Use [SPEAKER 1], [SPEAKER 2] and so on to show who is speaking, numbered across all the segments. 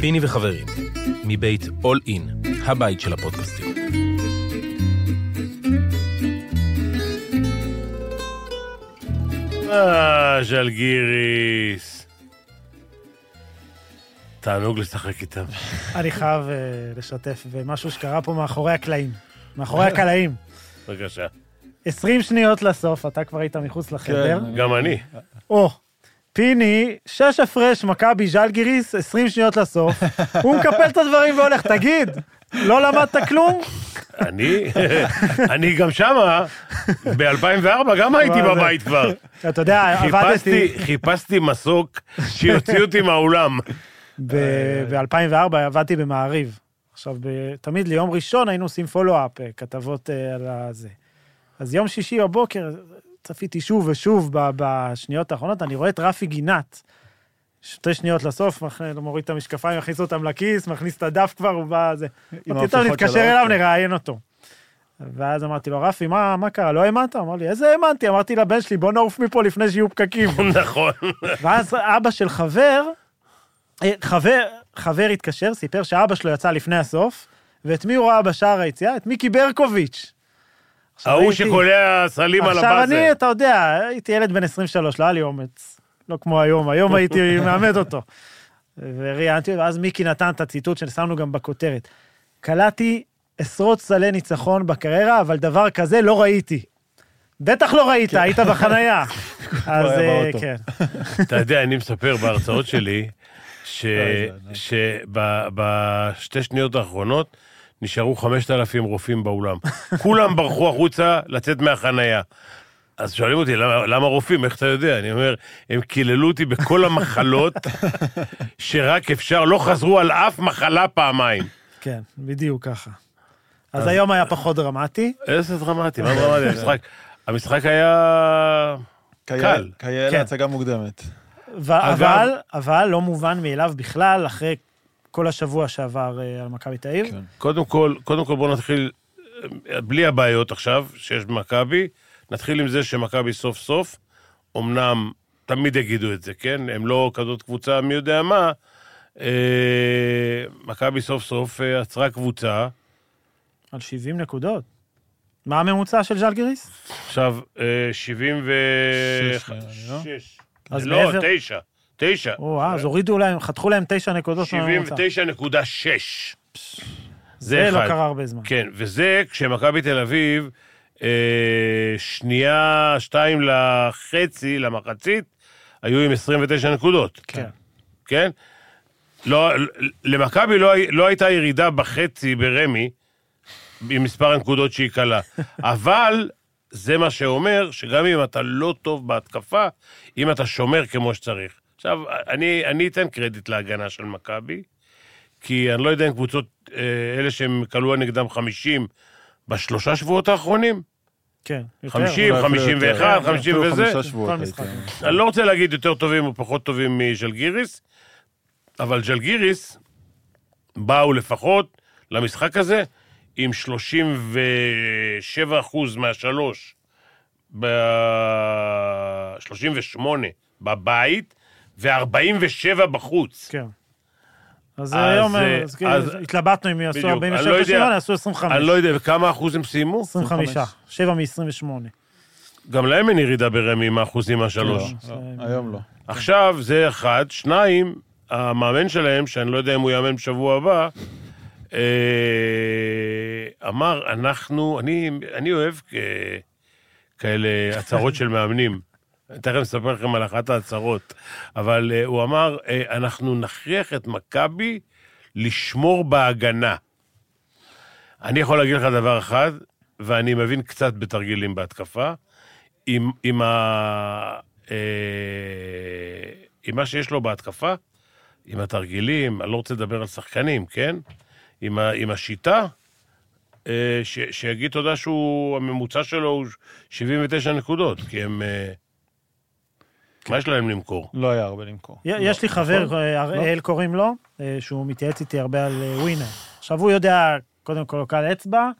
[SPEAKER 1] פיני וחברים, מבית All In, הבית של הפודקאסטים.
[SPEAKER 2] אה, ז'לגיריס. תענוג לשחק איתם.
[SPEAKER 3] אני חייב אה, לשתף במשהו שקרה פה מאחורי הקלעים. מאחורי הקלעים.
[SPEAKER 2] בבקשה.
[SPEAKER 3] 20 שניות לסוף, אתה כבר היית מחוץ לחדר.
[SPEAKER 2] גם כן, אני.
[SPEAKER 3] או, פיני, שש הפרש, מכבי, ז'לגיריס, 20 שניות לסוף. הוא מקפל את הדברים והולך, תגיד, לא למדת כלום?
[SPEAKER 2] אני? אני גם שמה, ב-2004 גם הייתי
[SPEAKER 3] מה זה?
[SPEAKER 2] בבית כבר.
[SPEAKER 3] אתה יודע, עבדתי...
[SPEAKER 2] חיפשתי, חיפשתי מסוק שיוציא אותי מהאולם.
[SPEAKER 4] אה,
[SPEAKER 3] ב-2004 עבדתי במעריב. עכשיו, ב- תמיד ליום ראשון היינו עושים פולו-אפ, אה, כתבות אה, על הזה. אז יום שישי בבוקר צפיתי שוב ושוב ב- בשניות האחרונות, אני רואה את רפי גינת. שתי שניות לסוף, מכ- מוריד את המשקפיים, מכניס אותם לכיס, מכניס את הדף כבר, הוא בא... זה. אמרתי, טוב,
[SPEAKER 4] ההפיכות של
[SPEAKER 3] נתקשר
[SPEAKER 4] האוטו."
[SPEAKER 3] אליו, נראיין אותו. ואז אמרתי לו, רפי, מה מה קרה? לא האמנת? הוא אמר לי, איזה האמנתי? אמרתי לבן שלי, בוא נעוף מפה לפני שיהיו פקקים.
[SPEAKER 2] נכון.
[SPEAKER 3] ואז אבא של חבר, אה, חבר, חבר התקשר, סיפר שאבא שלו יצא לפני הסוף, ואת מי הוא ראה בשער היציאה? את מיקי ברקוביץ'. עכשיו
[SPEAKER 2] ההוא
[SPEAKER 3] הייתי-
[SPEAKER 2] שקולע סלים על
[SPEAKER 3] עכשיו אני,
[SPEAKER 2] הבאזל.
[SPEAKER 3] אתה יודע, הייתי ילד בן 23, לא היה לי אומץ. לא כמו היום, היום הייתי מאמד אותו. וראיינתי, ואז מיקי נתן את הציטוט ששמנו גם בכותרת. קלעתי עשרות סלי ניצחון בקריירה, אבל דבר כזה לא ראיתי. בטח לא ראית,
[SPEAKER 2] כן.
[SPEAKER 3] היית בחנייה. אז
[SPEAKER 4] היה
[SPEAKER 3] אה,
[SPEAKER 4] באוטו.
[SPEAKER 3] כן.
[SPEAKER 2] אתה יודע, אני מספר בהרצאות שלי, שבשתי שניות האחרונות נשארו 5,000 רופאים באולם. כולם ברחו החוצה לצאת מהחנייה. אז שואלים אותי, למה, למה רופאים? איך אתה יודע? אני אומר, הם קיללו אותי בכל המחלות שרק אפשר, לא חזרו על אף מחלה פעמיים.
[SPEAKER 3] כן, בדיוק ככה. אז היום היה פחות דרמטי.
[SPEAKER 2] איזה דרמטי, מה דרמטי? אה, המשחק, המשחק היה... קל.
[SPEAKER 3] כן.
[SPEAKER 4] כיאה להצגה מוקדמת.
[SPEAKER 3] ו-
[SPEAKER 2] אגב-
[SPEAKER 3] אבל, אבל לא מובן מאליו בכלל, אחרי כל השבוע שעבר אה, על מכבי תל אביב.
[SPEAKER 4] כן.
[SPEAKER 2] קודם כל, קודם כל בואו נתחיל, אה, בלי הבעיות עכשיו שיש במכבי, נתחיל עם זה שמכבי סוף סוף, אמנם תמיד יגידו את זה, כן? הם לא כזאת קבוצה מי יודע מה, אה, מכבי סוף סוף אה, עצרה קבוצה.
[SPEAKER 3] על 70 נקודות. מה הממוצע של ז'לגיריס?
[SPEAKER 2] עכשיו, אה, 76...
[SPEAKER 4] שש, לא?
[SPEAKER 3] אז
[SPEAKER 2] לא,
[SPEAKER 3] מעבר-
[SPEAKER 2] 9, 9.
[SPEAKER 3] או, לא אה, אז הורידו להם, חתכו להם 9 נקודות מהממוצע.
[SPEAKER 2] 79.6.
[SPEAKER 3] זה לא
[SPEAKER 2] אחד.
[SPEAKER 3] קרה הרבה זמן.
[SPEAKER 2] כן, וזה כשמכבי תל אביב, אה, שנייה, שתיים לחצי, למחצית, היו עם 29 נקודות.
[SPEAKER 3] כן.
[SPEAKER 2] כן? לא, למכבי לא, הי- לא הייתה ירידה בחצי ברמי, עם מספר הנקודות שהיא כלה. אבל זה מה שאומר שגם אם אתה לא טוב בהתקפה, אם אתה שומר כמו שצריך. עכשיו, אני, אני אתן קרדיט להגנה של מכבי, כי אני לא יודע אם קבוצות, אה, אלה שהם כלו נגדם 50 בשלושה שבועות האחרונים,
[SPEAKER 3] כן, יותר.
[SPEAKER 2] 50,
[SPEAKER 4] אולי לא אפילו
[SPEAKER 2] 51,
[SPEAKER 4] יותר.
[SPEAKER 2] 50
[SPEAKER 4] אפילו
[SPEAKER 2] וזה.
[SPEAKER 4] חמישה שבועות
[SPEAKER 3] כל משחק.
[SPEAKER 4] הייתי אומר.
[SPEAKER 2] אני לא רוצה להגיד יותר טובים או פחות טובים מז'לגיריס, אבל ז'לגיריס באו לפחות למשחק הזה עם 37 אחוז מהשלוש, ב... 38 בבית ו-47 בחוץ.
[SPEAKER 3] כן. אז היום,
[SPEAKER 2] אה,
[SPEAKER 3] אז כאילו,
[SPEAKER 2] אז-
[SPEAKER 3] התלבטנו אם יעשו
[SPEAKER 2] בדיוק, אני
[SPEAKER 3] 47
[SPEAKER 2] לא יודע.
[SPEAKER 3] שוויון, יעשו 25.
[SPEAKER 2] אני לא יודע כמה אחוז הם סיימו,
[SPEAKER 3] 25, 7 מ-28.
[SPEAKER 2] גם להם אין ירידה ברמי עם האחוזים מהשלוש.
[SPEAKER 4] לא, היום לא.
[SPEAKER 2] עכשיו זה אחד. שניים, המאמן שלהם, שאני לא יודע אם הוא יאמן בשבוע הבא, אה, אמר, אנחנו, אני, אני אוהב אה, כאלה הצהרות של מאמנים. אני תכף אספר לכם על אחת ההצהרות. אבל אה, הוא אמר, אה, אנחנו נכריח את מכבי לשמור בהגנה. אני יכול להגיד לך דבר אחד, ואני מבין קצת בתרגילים בהתקפה, עם, עם, ה, אה, עם מה שיש לו בהתקפה, עם התרגילים, אני לא רוצה לדבר על שחקנים, כן? עם, ה, עם השיטה, אה, ש, שיגיד תודה שהוא, הממוצע שלו הוא 79 נקודות, כי הם... אה, מה יש להם למכור?
[SPEAKER 4] לא היה הרבה למכור. לא. נכון.
[SPEAKER 3] י- יש
[SPEAKER 2] נכון.
[SPEAKER 3] לי חבר, אה,
[SPEAKER 2] לא.
[SPEAKER 3] הראל קוראים לו, אה, שהוא מתייעץ איתי הרבה על אה, ווינר. עכשיו, הוא יודע, קודם כל, הוא קל אצבע,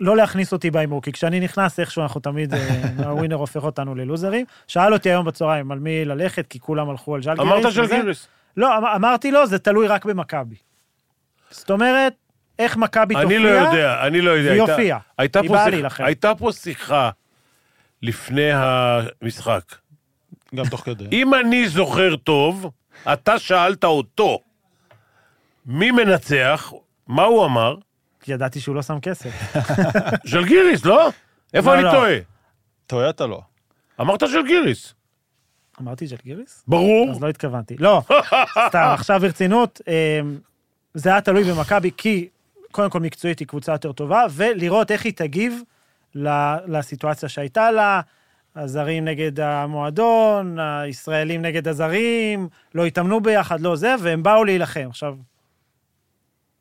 [SPEAKER 3] לא להכניס אותי בהימור, כי כשאני נכנס, איכשהו אנחנו תמיד, אה, הווינר הופך אותנו ללוזרים. שאל אותי היום בצהריים על מי ללכת, כי כולם הלכו על ז'לגיריס.
[SPEAKER 2] אמרת
[SPEAKER 3] וזה.
[SPEAKER 2] של גיריס.
[SPEAKER 3] לא, אמ- אמרתי לו, זה תלוי רק במכבי. זאת אומרת, איך מכבי תופיע?
[SPEAKER 2] אני לא יודע, אני לא יודע.
[SPEAKER 3] והיא
[SPEAKER 2] הייתה-
[SPEAKER 3] הופיעה.
[SPEAKER 2] הייתה
[SPEAKER 3] היא
[SPEAKER 2] פה
[SPEAKER 3] באה
[SPEAKER 2] שיח-
[SPEAKER 3] להילחם.
[SPEAKER 2] הייתה פה שיחה לפני המשחק.
[SPEAKER 4] גם תוך כדי.
[SPEAKER 2] אם אני זוכר טוב, אתה שאלת אותו, מי מנצח? מה הוא אמר?
[SPEAKER 3] כי ידעתי שהוא לא שם כסף.
[SPEAKER 2] ז'לגיריס, לא? איפה
[SPEAKER 3] לא,
[SPEAKER 2] אני
[SPEAKER 3] לא.
[SPEAKER 2] טועה?
[SPEAKER 4] טויוטה לא.
[SPEAKER 2] אמרת ז'לגיריס.
[SPEAKER 3] אמרתי ג'לגיריס?
[SPEAKER 2] ברור.
[SPEAKER 3] אז לא התכוונתי. לא, סתם, עכשיו ברצינות, אמ, זה היה תלוי במכבי, כי קודם כל מקצועית היא קבוצה יותר טובה, ולראות איך היא תגיב ל- לסיטואציה שהייתה לה, הזרים נגד המועדון, הישראלים נגד הזרים, לא התאמנו ביחד, לא זה, והם באו להילחם. עכשיו,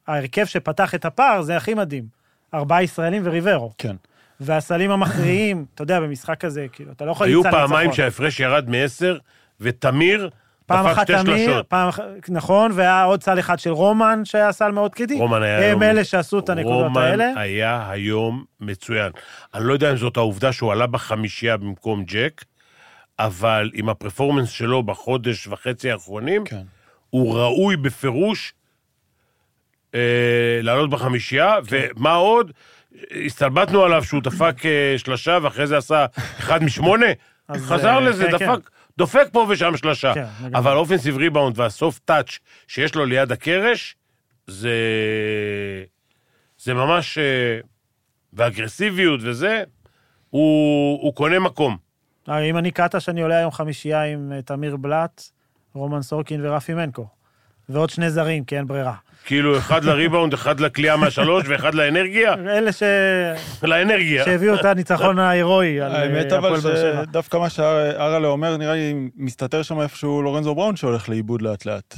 [SPEAKER 3] ההרכב שפתח את הפער זה הכי מדהים. ארבעה ישראלים וריברו.
[SPEAKER 4] כן.
[SPEAKER 3] והסלים המכריעים, אתה יודע, במשחק הזה, כאילו, אתה לא יכול
[SPEAKER 2] היו
[SPEAKER 3] למצוא ניצחון.
[SPEAKER 2] פעמיים שההפרש ירד מ-10, ותמיר
[SPEAKER 3] פעם
[SPEAKER 2] דפק
[SPEAKER 3] אחת
[SPEAKER 2] שתי
[SPEAKER 3] תמיר,
[SPEAKER 2] שלשות.
[SPEAKER 3] פעם אחת, נכון, והיה עוד סל אחד של רומן, שהיה סל מאוד קריטי.
[SPEAKER 2] רומן היה היום...
[SPEAKER 3] הם אלה שעשו את הנקודות האלה.
[SPEAKER 2] רומן היה היום מצוין. אני לא יודע אם זאת העובדה שהוא עלה בחמישייה במקום ג'ק, אבל עם הפרפורמנס שלו בחודש וחצי האחרונים,
[SPEAKER 4] כן.
[SPEAKER 2] הוא ראוי בפירוש אה, לעלות בחמישייה,
[SPEAKER 3] כן.
[SPEAKER 2] ומה עוד? הסתלבטנו עליו שהוא דפק אה, שלשה ואחרי זה עשה אחד משמונה,
[SPEAKER 3] אז,
[SPEAKER 2] חזר
[SPEAKER 3] אה,
[SPEAKER 2] לזה,
[SPEAKER 3] כן,
[SPEAKER 2] דפק, דופק פה ושם שלשה.
[SPEAKER 3] כן, לגמרי.
[SPEAKER 2] אבל אופנסיב ריבאונד והסוף טאץ' שיש לו ליד הקרש, זה... זה ממש... אה, ואגרסיביות וזה, הוא, הוא קונה מקום.
[SPEAKER 3] הרי אם אני קטש, שאני עולה היום חמישייה עם אה, תמיר בלאט, רומן סורקין ורפי מנקו. ועוד שני זרים, כי אין ברירה.
[SPEAKER 2] כאילו, אחד לריבאונד, אחד לקליעה מהשלוש ואחד לאנרגיה.
[SPEAKER 3] אלה ש...
[SPEAKER 2] לאנרגיה.
[SPEAKER 3] שהביאו את הניצחון ההירואי על אה,
[SPEAKER 4] האמת אבל
[SPEAKER 3] הפועל באר שבע.
[SPEAKER 4] שדווקא מה שהרלה אומר, נראה לי מסתתר שם איפשהו לורנזו בראון שהולך לאיבוד לאט לאט.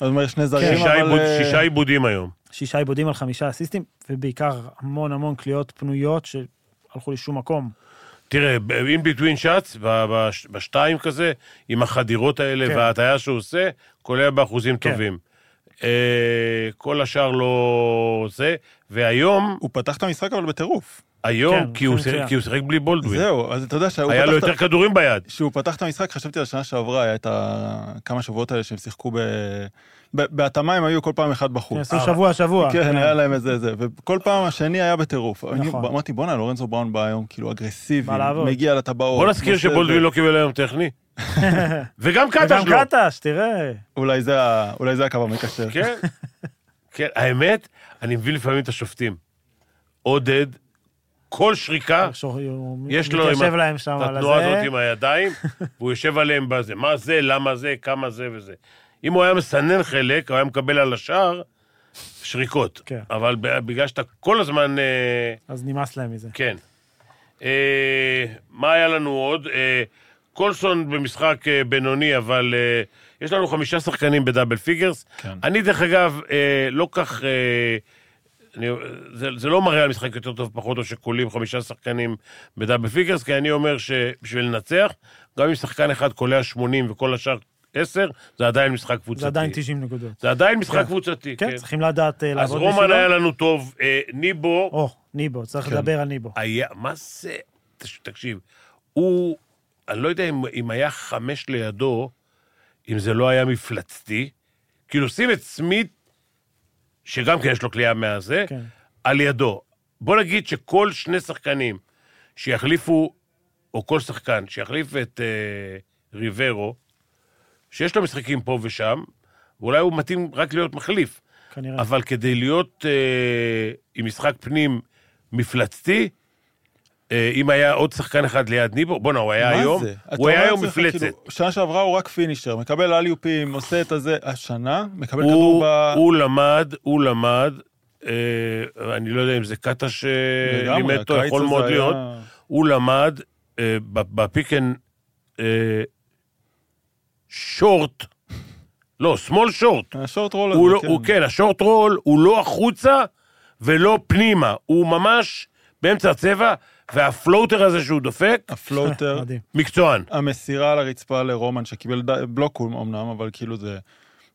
[SPEAKER 4] אז אומר, שני זרים,
[SPEAKER 2] כן. שישה
[SPEAKER 4] אבל...
[SPEAKER 2] עיבוד-
[SPEAKER 4] אה,
[SPEAKER 2] שישה עיבודים היום.
[SPEAKER 3] שישה עיבודים על חמישה אסיסטים, ובעיקר המון המון קליעות פנויות שהלכו לשום מקום.
[SPEAKER 2] תראה, in between shots, ב- ב- בשתיים כזה, עם החדירות האלה
[SPEAKER 3] כן.
[SPEAKER 2] וההטיה שהוא עושה, כולל באחוזים
[SPEAKER 3] כן.
[SPEAKER 2] טובים. אה, כל השאר לא זה, והיום,
[SPEAKER 4] הוא פתח את המשחק אבל בטירוף.
[SPEAKER 2] היום,
[SPEAKER 3] כן,
[SPEAKER 2] כי הוא
[SPEAKER 3] זה
[SPEAKER 2] שיחק-
[SPEAKER 3] מצוין.
[SPEAKER 2] כי הוא שיחק בלי בולדווין.
[SPEAKER 4] זהו, אז אתה יודע שהוא
[SPEAKER 2] היה לו
[SPEAKER 4] פתח את-
[SPEAKER 2] יותר כדורים ביד.
[SPEAKER 4] כשהוא פתח את המשחק, חשבתי על השנה שעברה, היה את הכמה שבועות האלה שהם שיחקו ב... ב- בהתאמה הם היו כל פעם אחד
[SPEAKER 3] הם
[SPEAKER 4] בחוץ.
[SPEAKER 3] עשו שבוע שבוע.
[SPEAKER 4] כן, היה להם איזה זה, וכל פעם השני היה בטירוף. אני
[SPEAKER 3] נכון.
[SPEAKER 4] אמרתי, בואנה, לורנזו בראון בא היום, כאילו אגרסיבי,
[SPEAKER 3] בא לעבוד."
[SPEAKER 4] מגיע לטבעות.
[SPEAKER 2] בוא נזכיר
[SPEAKER 4] עושה זה.
[SPEAKER 2] שבולדווין לא קיבל היום טכני. וגם
[SPEAKER 3] וגם
[SPEAKER 2] קטש לא.
[SPEAKER 3] קטש, תראה.
[SPEAKER 4] אולי זה ה- אולי זה הקו המקשר.
[SPEAKER 2] כן, כן. האמת, אני מבין לפעמים את השופטים. עודד, כל שריקה,
[SPEAKER 3] שור- הוא
[SPEAKER 2] יש לו
[SPEAKER 3] מתיישב
[SPEAKER 2] עם ה-
[SPEAKER 3] להם שם
[SPEAKER 2] את
[SPEAKER 3] על
[SPEAKER 2] התנועה הזאת
[SPEAKER 3] הזה.
[SPEAKER 2] עם הידיים, והוא יושב עליהם בזה. מה זה, למה זה, כמה זה וזה. אם הוא היה מסנן חלק, הוא היה מקבל על השאר שריקות.
[SPEAKER 3] כן.
[SPEAKER 2] אבל ב- בגלל שאתה כל הזמן... אה,
[SPEAKER 3] אז נמאס להם מזה.
[SPEAKER 2] כן. אה, מה היה לנו עוד? אה, קולסון במשחק אה, בינוני, אבל אה, יש לנו חמישה שחקנים בדאבל פיגרס.
[SPEAKER 4] כן.
[SPEAKER 2] אני, דרך אגב, אה, לא כך... אה, אני, זה, זה לא מראה על משחק יותר טוב, פחות, או שכולים חמישה שחקנים בדאבל פיגרס, כי אני אומר שבשביל לנצח, גם אם שחקן אחד קולע 80 וכל השאר 10, זה עדיין משחק קבוצתי.
[SPEAKER 3] זה עדיין 90 נקודות.
[SPEAKER 2] זה עדיין משחק
[SPEAKER 3] כן.
[SPEAKER 2] קבוצתי, כן.
[SPEAKER 3] כן, צריכים לדעת אה,
[SPEAKER 2] אז
[SPEAKER 3] לעבוד
[SPEAKER 2] רומן
[SPEAKER 3] בשבילו.
[SPEAKER 2] היה לנו טוב, אה, ניבו...
[SPEAKER 3] או, ניבו, צריך
[SPEAKER 4] כן.
[SPEAKER 3] לדבר על ניבו.
[SPEAKER 2] היה, מה זה? תש- תקשיב, הוא, אני לא יודע אם, אם היה חמש לידו, אם זה לא היה מפלצתי. כאילו, שים את סמית, שגם כן יש לו כליאה מהזה,
[SPEAKER 3] כן.
[SPEAKER 2] על ידו. בוא נגיד שכל שני שחקנים שיחליפו, או כל שחקן שיחליף את אה, ריברו, שיש לו משחקים פה ושם, ואולי הוא מתאים רק להיות מחליף.
[SPEAKER 3] כנראה.
[SPEAKER 2] אבל כדי להיות אה, עם משחק פנים מפלצתי, אה, אם היה עוד שחקן אחד ליד ניבו, בואנה, הוא היה
[SPEAKER 4] מה
[SPEAKER 2] היום,
[SPEAKER 4] זה? אתה
[SPEAKER 2] הוא היה
[SPEAKER 4] אומר
[SPEAKER 2] היום
[SPEAKER 4] לעצמך,
[SPEAKER 2] מפלצת.
[SPEAKER 4] כאילו, שנה שעברה הוא רק פינישר, מקבל אליופים, עושה את הזה. השנה, מקבל כדור
[SPEAKER 2] הוא,
[SPEAKER 4] ב...
[SPEAKER 2] הוא למד, הוא למד, אה, אני לא יודע אם זה קאטה
[SPEAKER 4] לגמרי,
[SPEAKER 2] שלימד אה, אותו,
[SPEAKER 4] הקיץ
[SPEAKER 2] יכול
[SPEAKER 4] הזה
[SPEAKER 2] מאוד
[SPEAKER 4] היה-
[SPEAKER 2] להיות, הוא למד אה, ב- בפיקן אה, שורט, לא, שמאל שורט.
[SPEAKER 4] השורט רול הזה,
[SPEAKER 2] הוא לא, הוא כן, השורט רול הוא לא החוצה ולא פנימה, הוא ממש באמצע הצבע, והפלוטר הזה שהוא דופק,
[SPEAKER 4] הפלוטר,
[SPEAKER 3] מדהים.
[SPEAKER 2] מקצוען.
[SPEAKER 4] המסירה על הרצפה לרומן, שקיבל ד- בלוק הוא אמנם, אבל כאילו זה...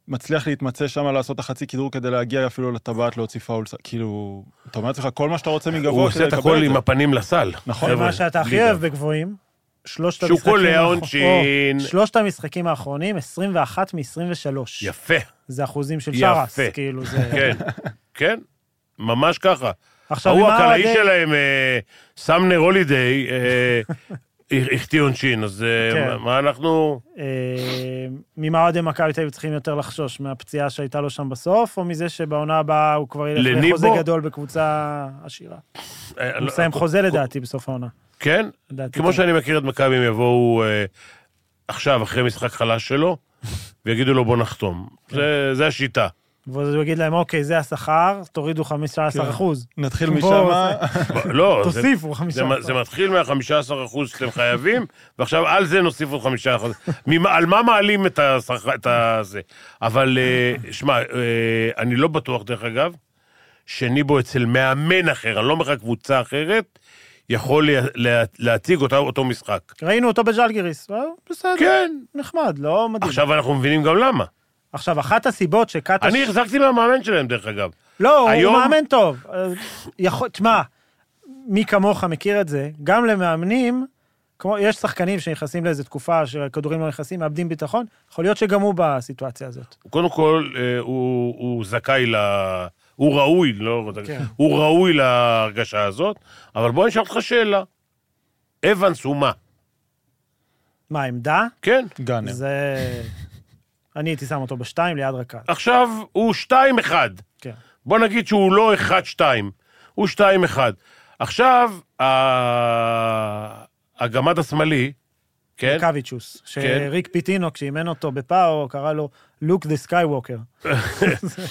[SPEAKER 4] מצליח להתמצא שם לעשות את החצי כדרור כדי להגיע אפילו לטבעת להוציא פאול, כאילו, אתה אומר לעצמך כל מה שאתה רוצה מגבוה
[SPEAKER 2] הוא עושה
[SPEAKER 4] כדי
[SPEAKER 2] את
[SPEAKER 4] לקבל
[SPEAKER 2] הכל
[SPEAKER 4] את
[SPEAKER 2] עם אה,
[SPEAKER 4] זה.
[SPEAKER 2] הפנים לסל.
[SPEAKER 4] נכון,
[SPEAKER 2] חבר'ה,
[SPEAKER 3] מה שאתה הכי
[SPEAKER 2] ליגה.
[SPEAKER 3] אוהב בגבוהים, שלושת
[SPEAKER 2] שהוא
[SPEAKER 3] המשחקים
[SPEAKER 2] קולע
[SPEAKER 3] האחר-
[SPEAKER 2] עונשין.
[SPEAKER 3] או, שלושת המשחקים האחרונים, 21 מ-23.
[SPEAKER 2] יפה,
[SPEAKER 3] זה אחוזים של
[SPEAKER 2] יפה.
[SPEAKER 3] שרס, כאילו זה...
[SPEAKER 2] כן, כן, ממש ככה.
[SPEAKER 3] עכשיו, עם
[SPEAKER 2] ההוא הקלעי
[SPEAKER 3] ארדה-
[SPEAKER 2] שלהם, אה, סמנר הולידיי, אה, החטיא עונשין, אז אה,
[SPEAKER 3] כן.
[SPEAKER 2] מה- מה אנחנו...
[SPEAKER 3] אה, ממה אוהדי מכבי תל אביב צריכים יותר לחשוש? מהפציעה שהייתה לו שם בסוף, או מזה שבעונה הבאה הוא כבר ילך
[SPEAKER 2] לניבו?
[SPEAKER 3] לחוזה גדול בקבוצה עשירה?
[SPEAKER 2] אה,
[SPEAKER 3] הוא
[SPEAKER 2] לא-
[SPEAKER 3] מסיים חוזה לדעתי בסוף העונה.
[SPEAKER 2] כן,
[SPEAKER 3] לדעתי.
[SPEAKER 2] כמו שאני מכיר את מכבי, הם יבואו אה, עכשיו, אחרי משחק חלש שלו, ויגידו לו בוא נחתום. זה- זה השיטה.
[SPEAKER 3] ואז הוא יגיד להם, אוקיי, זה השכר,
[SPEAKER 2] כן.
[SPEAKER 3] תורידו 15 אחוז.
[SPEAKER 4] נתחיל
[SPEAKER 3] בוא,
[SPEAKER 4] משם, אה,
[SPEAKER 2] לא, אה, זה-
[SPEAKER 3] תוסיפו
[SPEAKER 2] זה
[SPEAKER 3] 15
[SPEAKER 2] מ- זה מתחיל מה-15% שאתם חייבים, ועכשיו על זה נוסיף עוד 5%. ממה- על מה מעלים את השכר, את הזה? אבל, אה, שמע, אה, אני לא בטוח, דרך אגב, שניבו אצל מאמן אחר, אני לא אומר לך קבוצה אחרת, יכול לה- לה- להציג אותה- אותו משחק.
[SPEAKER 3] ראינו אותו בז'לגיריס, אה, בסדר,
[SPEAKER 2] כן.
[SPEAKER 3] נחמד, לא מדהים.
[SPEAKER 2] עכשיו אנחנו מבינים גם למה.
[SPEAKER 3] עכשיו, אחת הסיבות שקטש...
[SPEAKER 2] אני החזקתי מהמאמן שלהם, דרך אגב.
[SPEAKER 3] לא,
[SPEAKER 2] היום-
[SPEAKER 3] הוא מאמן טוב. אז יכול- תשמע, מי כמוך מכיר את זה, גם למאמנים, כמו, יש שחקנים שנכנסים לאיזו תקופה שהכדורים לא נכנסים, מאבדים ביטחון, יכול להיות שגם הוא בסיטואציה הזאת.
[SPEAKER 2] קודם כל, אה, הוא, הוא זכאי ל... הוא ראוי, לא...
[SPEAKER 3] כן.
[SPEAKER 2] הוא ראוי להרגשה הזאת, אבל בוא אני אשאל אותך שאלה. אבנס הוא מה?
[SPEAKER 3] מה, עמדה?
[SPEAKER 2] כן.
[SPEAKER 4] גאנר.
[SPEAKER 3] זה... אני הייתי שם אותו בשתיים ליד רכז.
[SPEAKER 2] עכשיו הוא 2-1.
[SPEAKER 3] כן.
[SPEAKER 2] בוא נגיד שהוא לא 1-2, הוא 2-1. עכשיו, ה- הגמד השמאלי, כן?
[SPEAKER 3] קוויצ'וס,
[SPEAKER 2] כן.
[SPEAKER 3] שריק פיטינו, כשאימן אותו בפאו, קרא לו לוק דה סקייווקר.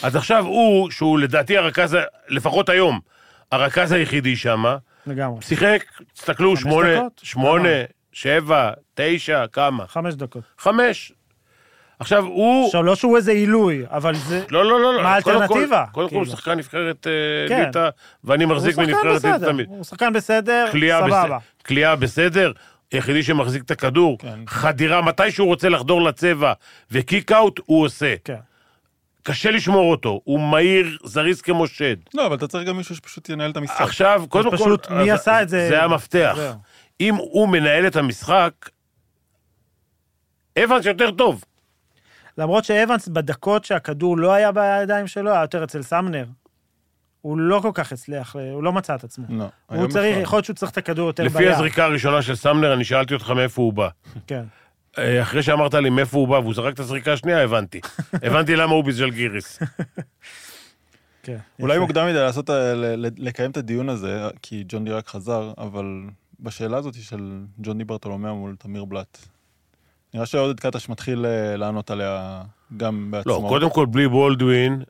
[SPEAKER 2] אז עכשיו הוא, שהוא לדעתי הרכז, ה- לפחות היום, הרכז היחידי שמה,
[SPEAKER 3] לגמרי.
[SPEAKER 2] שיחק, תסתכלו,
[SPEAKER 3] חמש
[SPEAKER 2] שמונה,
[SPEAKER 3] דקות? אה.
[SPEAKER 2] שמונה, שבע, תשע, כמה?
[SPEAKER 3] חמש דקות.
[SPEAKER 2] חמש. עכשיו, הוא...
[SPEAKER 3] עכשיו, לא שהוא איזה עילוי, אבל זה...
[SPEAKER 2] לא, לא, לא, לא.
[SPEAKER 3] מה
[SPEAKER 2] קודם כל-
[SPEAKER 3] האלטרנטיבה?
[SPEAKER 2] קודם כל, הוא
[SPEAKER 3] כאילו.
[SPEAKER 2] שחקן נבחרת אה,
[SPEAKER 3] כן.
[SPEAKER 2] ליטא, ואני מחזיק
[SPEAKER 3] הוא שחקן
[SPEAKER 2] מנבחרת ליטא
[SPEAKER 3] בסדר,
[SPEAKER 2] תמיד.
[SPEAKER 3] הוא שחקן בסדר,
[SPEAKER 2] כליאה
[SPEAKER 3] סבבה.
[SPEAKER 2] בס- כליאה בסדר, היחידי שמחזיק את הכדור,
[SPEAKER 4] כן.
[SPEAKER 2] חדירה, מתי שהוא רוצה לחדור לצבע, וקיק אאוט הוא עושה.
[SPEAKER 3] כן.
[SPEAKER 2] קשה לשמור אותו, הוא מהיר, זריז כמו שד.
[SPEAKER 4] לא, אבל אתה צריך גם מישהו שפשוט ינהל את המשחק.
[SPEAKER 2] עכשיו, קודם כל...
[SPEAKER 3] פשוט מי
[SPEAKER 2] אז-
[SPEAKER 3] עשה את זה?
[SPEAKER 2] זה המפתח.
[SPEAKER 3] זהו.
[SPEAKER 2] אם הוא מנהל את המשחק, אבנס יותר טוב.
[SPEAKER 3] למרות שאבנס בדקות שהכדור לא היה בידיים שלו, היה יותר אצל סמנר. הוא לא כל כך הצליח, הוא לא מצא את עצמו.
[SPEAKER 4] לא,
[SPEAKER 3] הוא
[SPEAKER 4] היום
[SPEAKER 3] צריך,
[SPEAKER 4] בכלל.
[SPEAKER 3] יכול להיות שהוא צריך את הכדור יותר ביד.
[SPEAKER 2] לפי הזריקה הראשונה של סמנר, אני שאלתי אותך מאיפה הוא בא.
[SPEAKER 3] כן.
[SPEAKER 2] אה, אחרי שאמרת לי מאיפה הוא בא והוא זרק את הזריקה השנייה, הבנתי. הבנתי למה הוא בז'לגיריס.
[SPEAKER 3] כן.
[SPEAKER 4] אולי
[SPEAKER 3] יפה.
[SPEAKER 4] מוקדם מדי לעשות, ה- ל- ל- לקיים את הדיון הזה, אה, כי ג'ון די רק חזר, אבל בשאלה הזאת של ג'ון די ברטולומיאו מול תמיר בלאט, נראה שעודד קטש מתחיל אה, לענות עליה גם בעצמו.
[SPEAKER 2] לא, קודם כל, בלי בולדווין,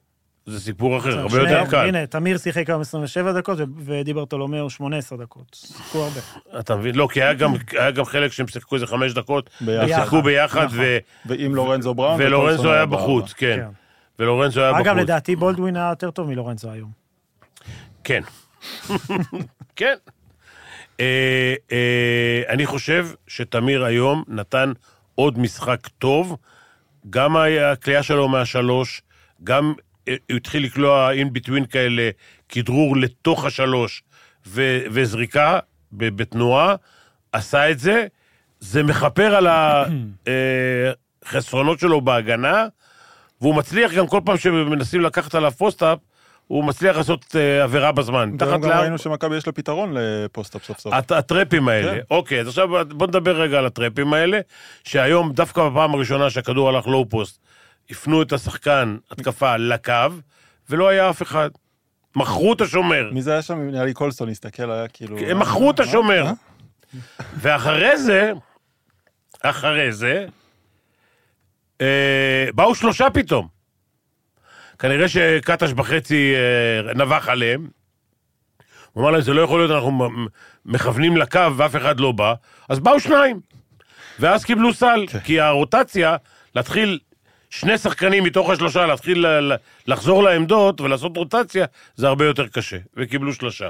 [SPEAKER 2] זה סיפור אחר, הרבה
[SPEAKER 3] שני-
[SPEAKER 2] יותר קל.
[SPEAKER 3] הנה, תמיר שיחק היום 27 דקות, ו- ודיברטולומיאו 18 דקות. שיחקו הרבה.
[SPEAKER 2] אתה מבין? לא, כי היה גם- היה גם חלק שהם שיחקו איזה חמש דקות, הם
[SPEAKER 4] ביחד.
[SPEAKER 2] שיחקו ביחד,
[SPEAKER 3] נכון.
[SPEAKER 2] ו-
[SPEAKER 4] ועם לורנזו בראון.
[SPEAKER 2] ולורנזו
[SPEAKER 4] ופולסון
[SPEAKER 2] היה
[SPEAKER 4] בארבע.
[SPEAKER 2] בחוץ, כן.
[SPEAKER 3] כן.
[SPEAKER 2] ולורנזו היה בחוץ.
[SPEAKER 3] אגב, לדעתי בולדווין היה יותר טוב מלורנצו היום.
[SPEAKER 2] כן. כן. אה, אה, אני חושב שתמיר היום נתן עוד משחק טוב. גם היה- הקליעה שלו מהשלוש, גם אה, הוא התחיל לקלוע in between כאלה, כדרור לתוך השלוש ו- וזריקה ב- בתנועה, עשה את זה. זה מכפר על החסרונות שלו בהגנה, והוא מצליח גם כל פעם שמנסים לקחת עליו פוסט-אפ, הוא מצליח לעשות אה, עבירה בזמן.
[SPEAKER 4] והיום
[SPEAKER 2] מתחת
[SPEAKER 4] גם
[SPEAKER 2] לארבע-
[SPEAKER 4] ראינו שמכבי יש לה פתרון לפוסט-אפ סוף סוף.
[SPEAKER 2] הט- הטרפים האלה.
[SPEAKER 4] כן.
[SPEAKER 2] אוקיי, אז עכשיו בוא נדבר רגע על הטרפים האלה, שהיום, דווקא בפעם הראשונה שהכדור הלך לואו פוסט, הפנו את השחקן התקפה לקו, ולא היה אף אחד. מכרו את השומר.
[SPEAKER 4] מי זה היה שם? נראה לי קולסון הסתכל, היה כאילו...
[SPEAKER 2] הם מכרו את
[SPEAKER 4] אה,
[SPEAKER 2] השומר.
[SPEAKER 4] אה?
[SPEAKER 2] ואחרי זה, אחרי זה, אה, באו שלושה פתאום. כנראה שקטש בחצי אה, נבח עליהם. הוא אמר להם, זה לא יכול להיות, אנחנו מ- מכוונים לקו ואף אחד לא בא. אז באו שניים. ואז קיבלו סל,
[SPEAKER 4] כן.
[SPEAKER 2] כי הרוטציה, להתחיל שני שחקנים מתוך השלושה, להתחיל ל- ל- לחזור לעמדות ולעשות רוטציה, זה הרבה יותר קשה. וקיבלו שלושה.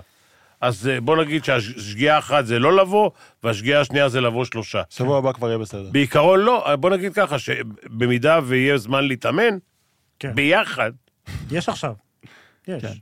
[SPEAKER 2] אז אה, בוא נגיד שהשגיאה האחת זה לא לבוא, והשגיאה השנייה זה לבוא שלושה.
[SPEAKER 4] שבוע הבא כבר יהיה בסדר.
[SPEAKER 2] בעיקרון לא, בוא נגיד ככה, שבמידה ויהיה זמן להתאמן,
[SPEAKER 3] כן.
[SPEAKER 2] ביחד,
[SPEAKER 3] יש עכשיו. יש.
[SPEAKER 4] כן.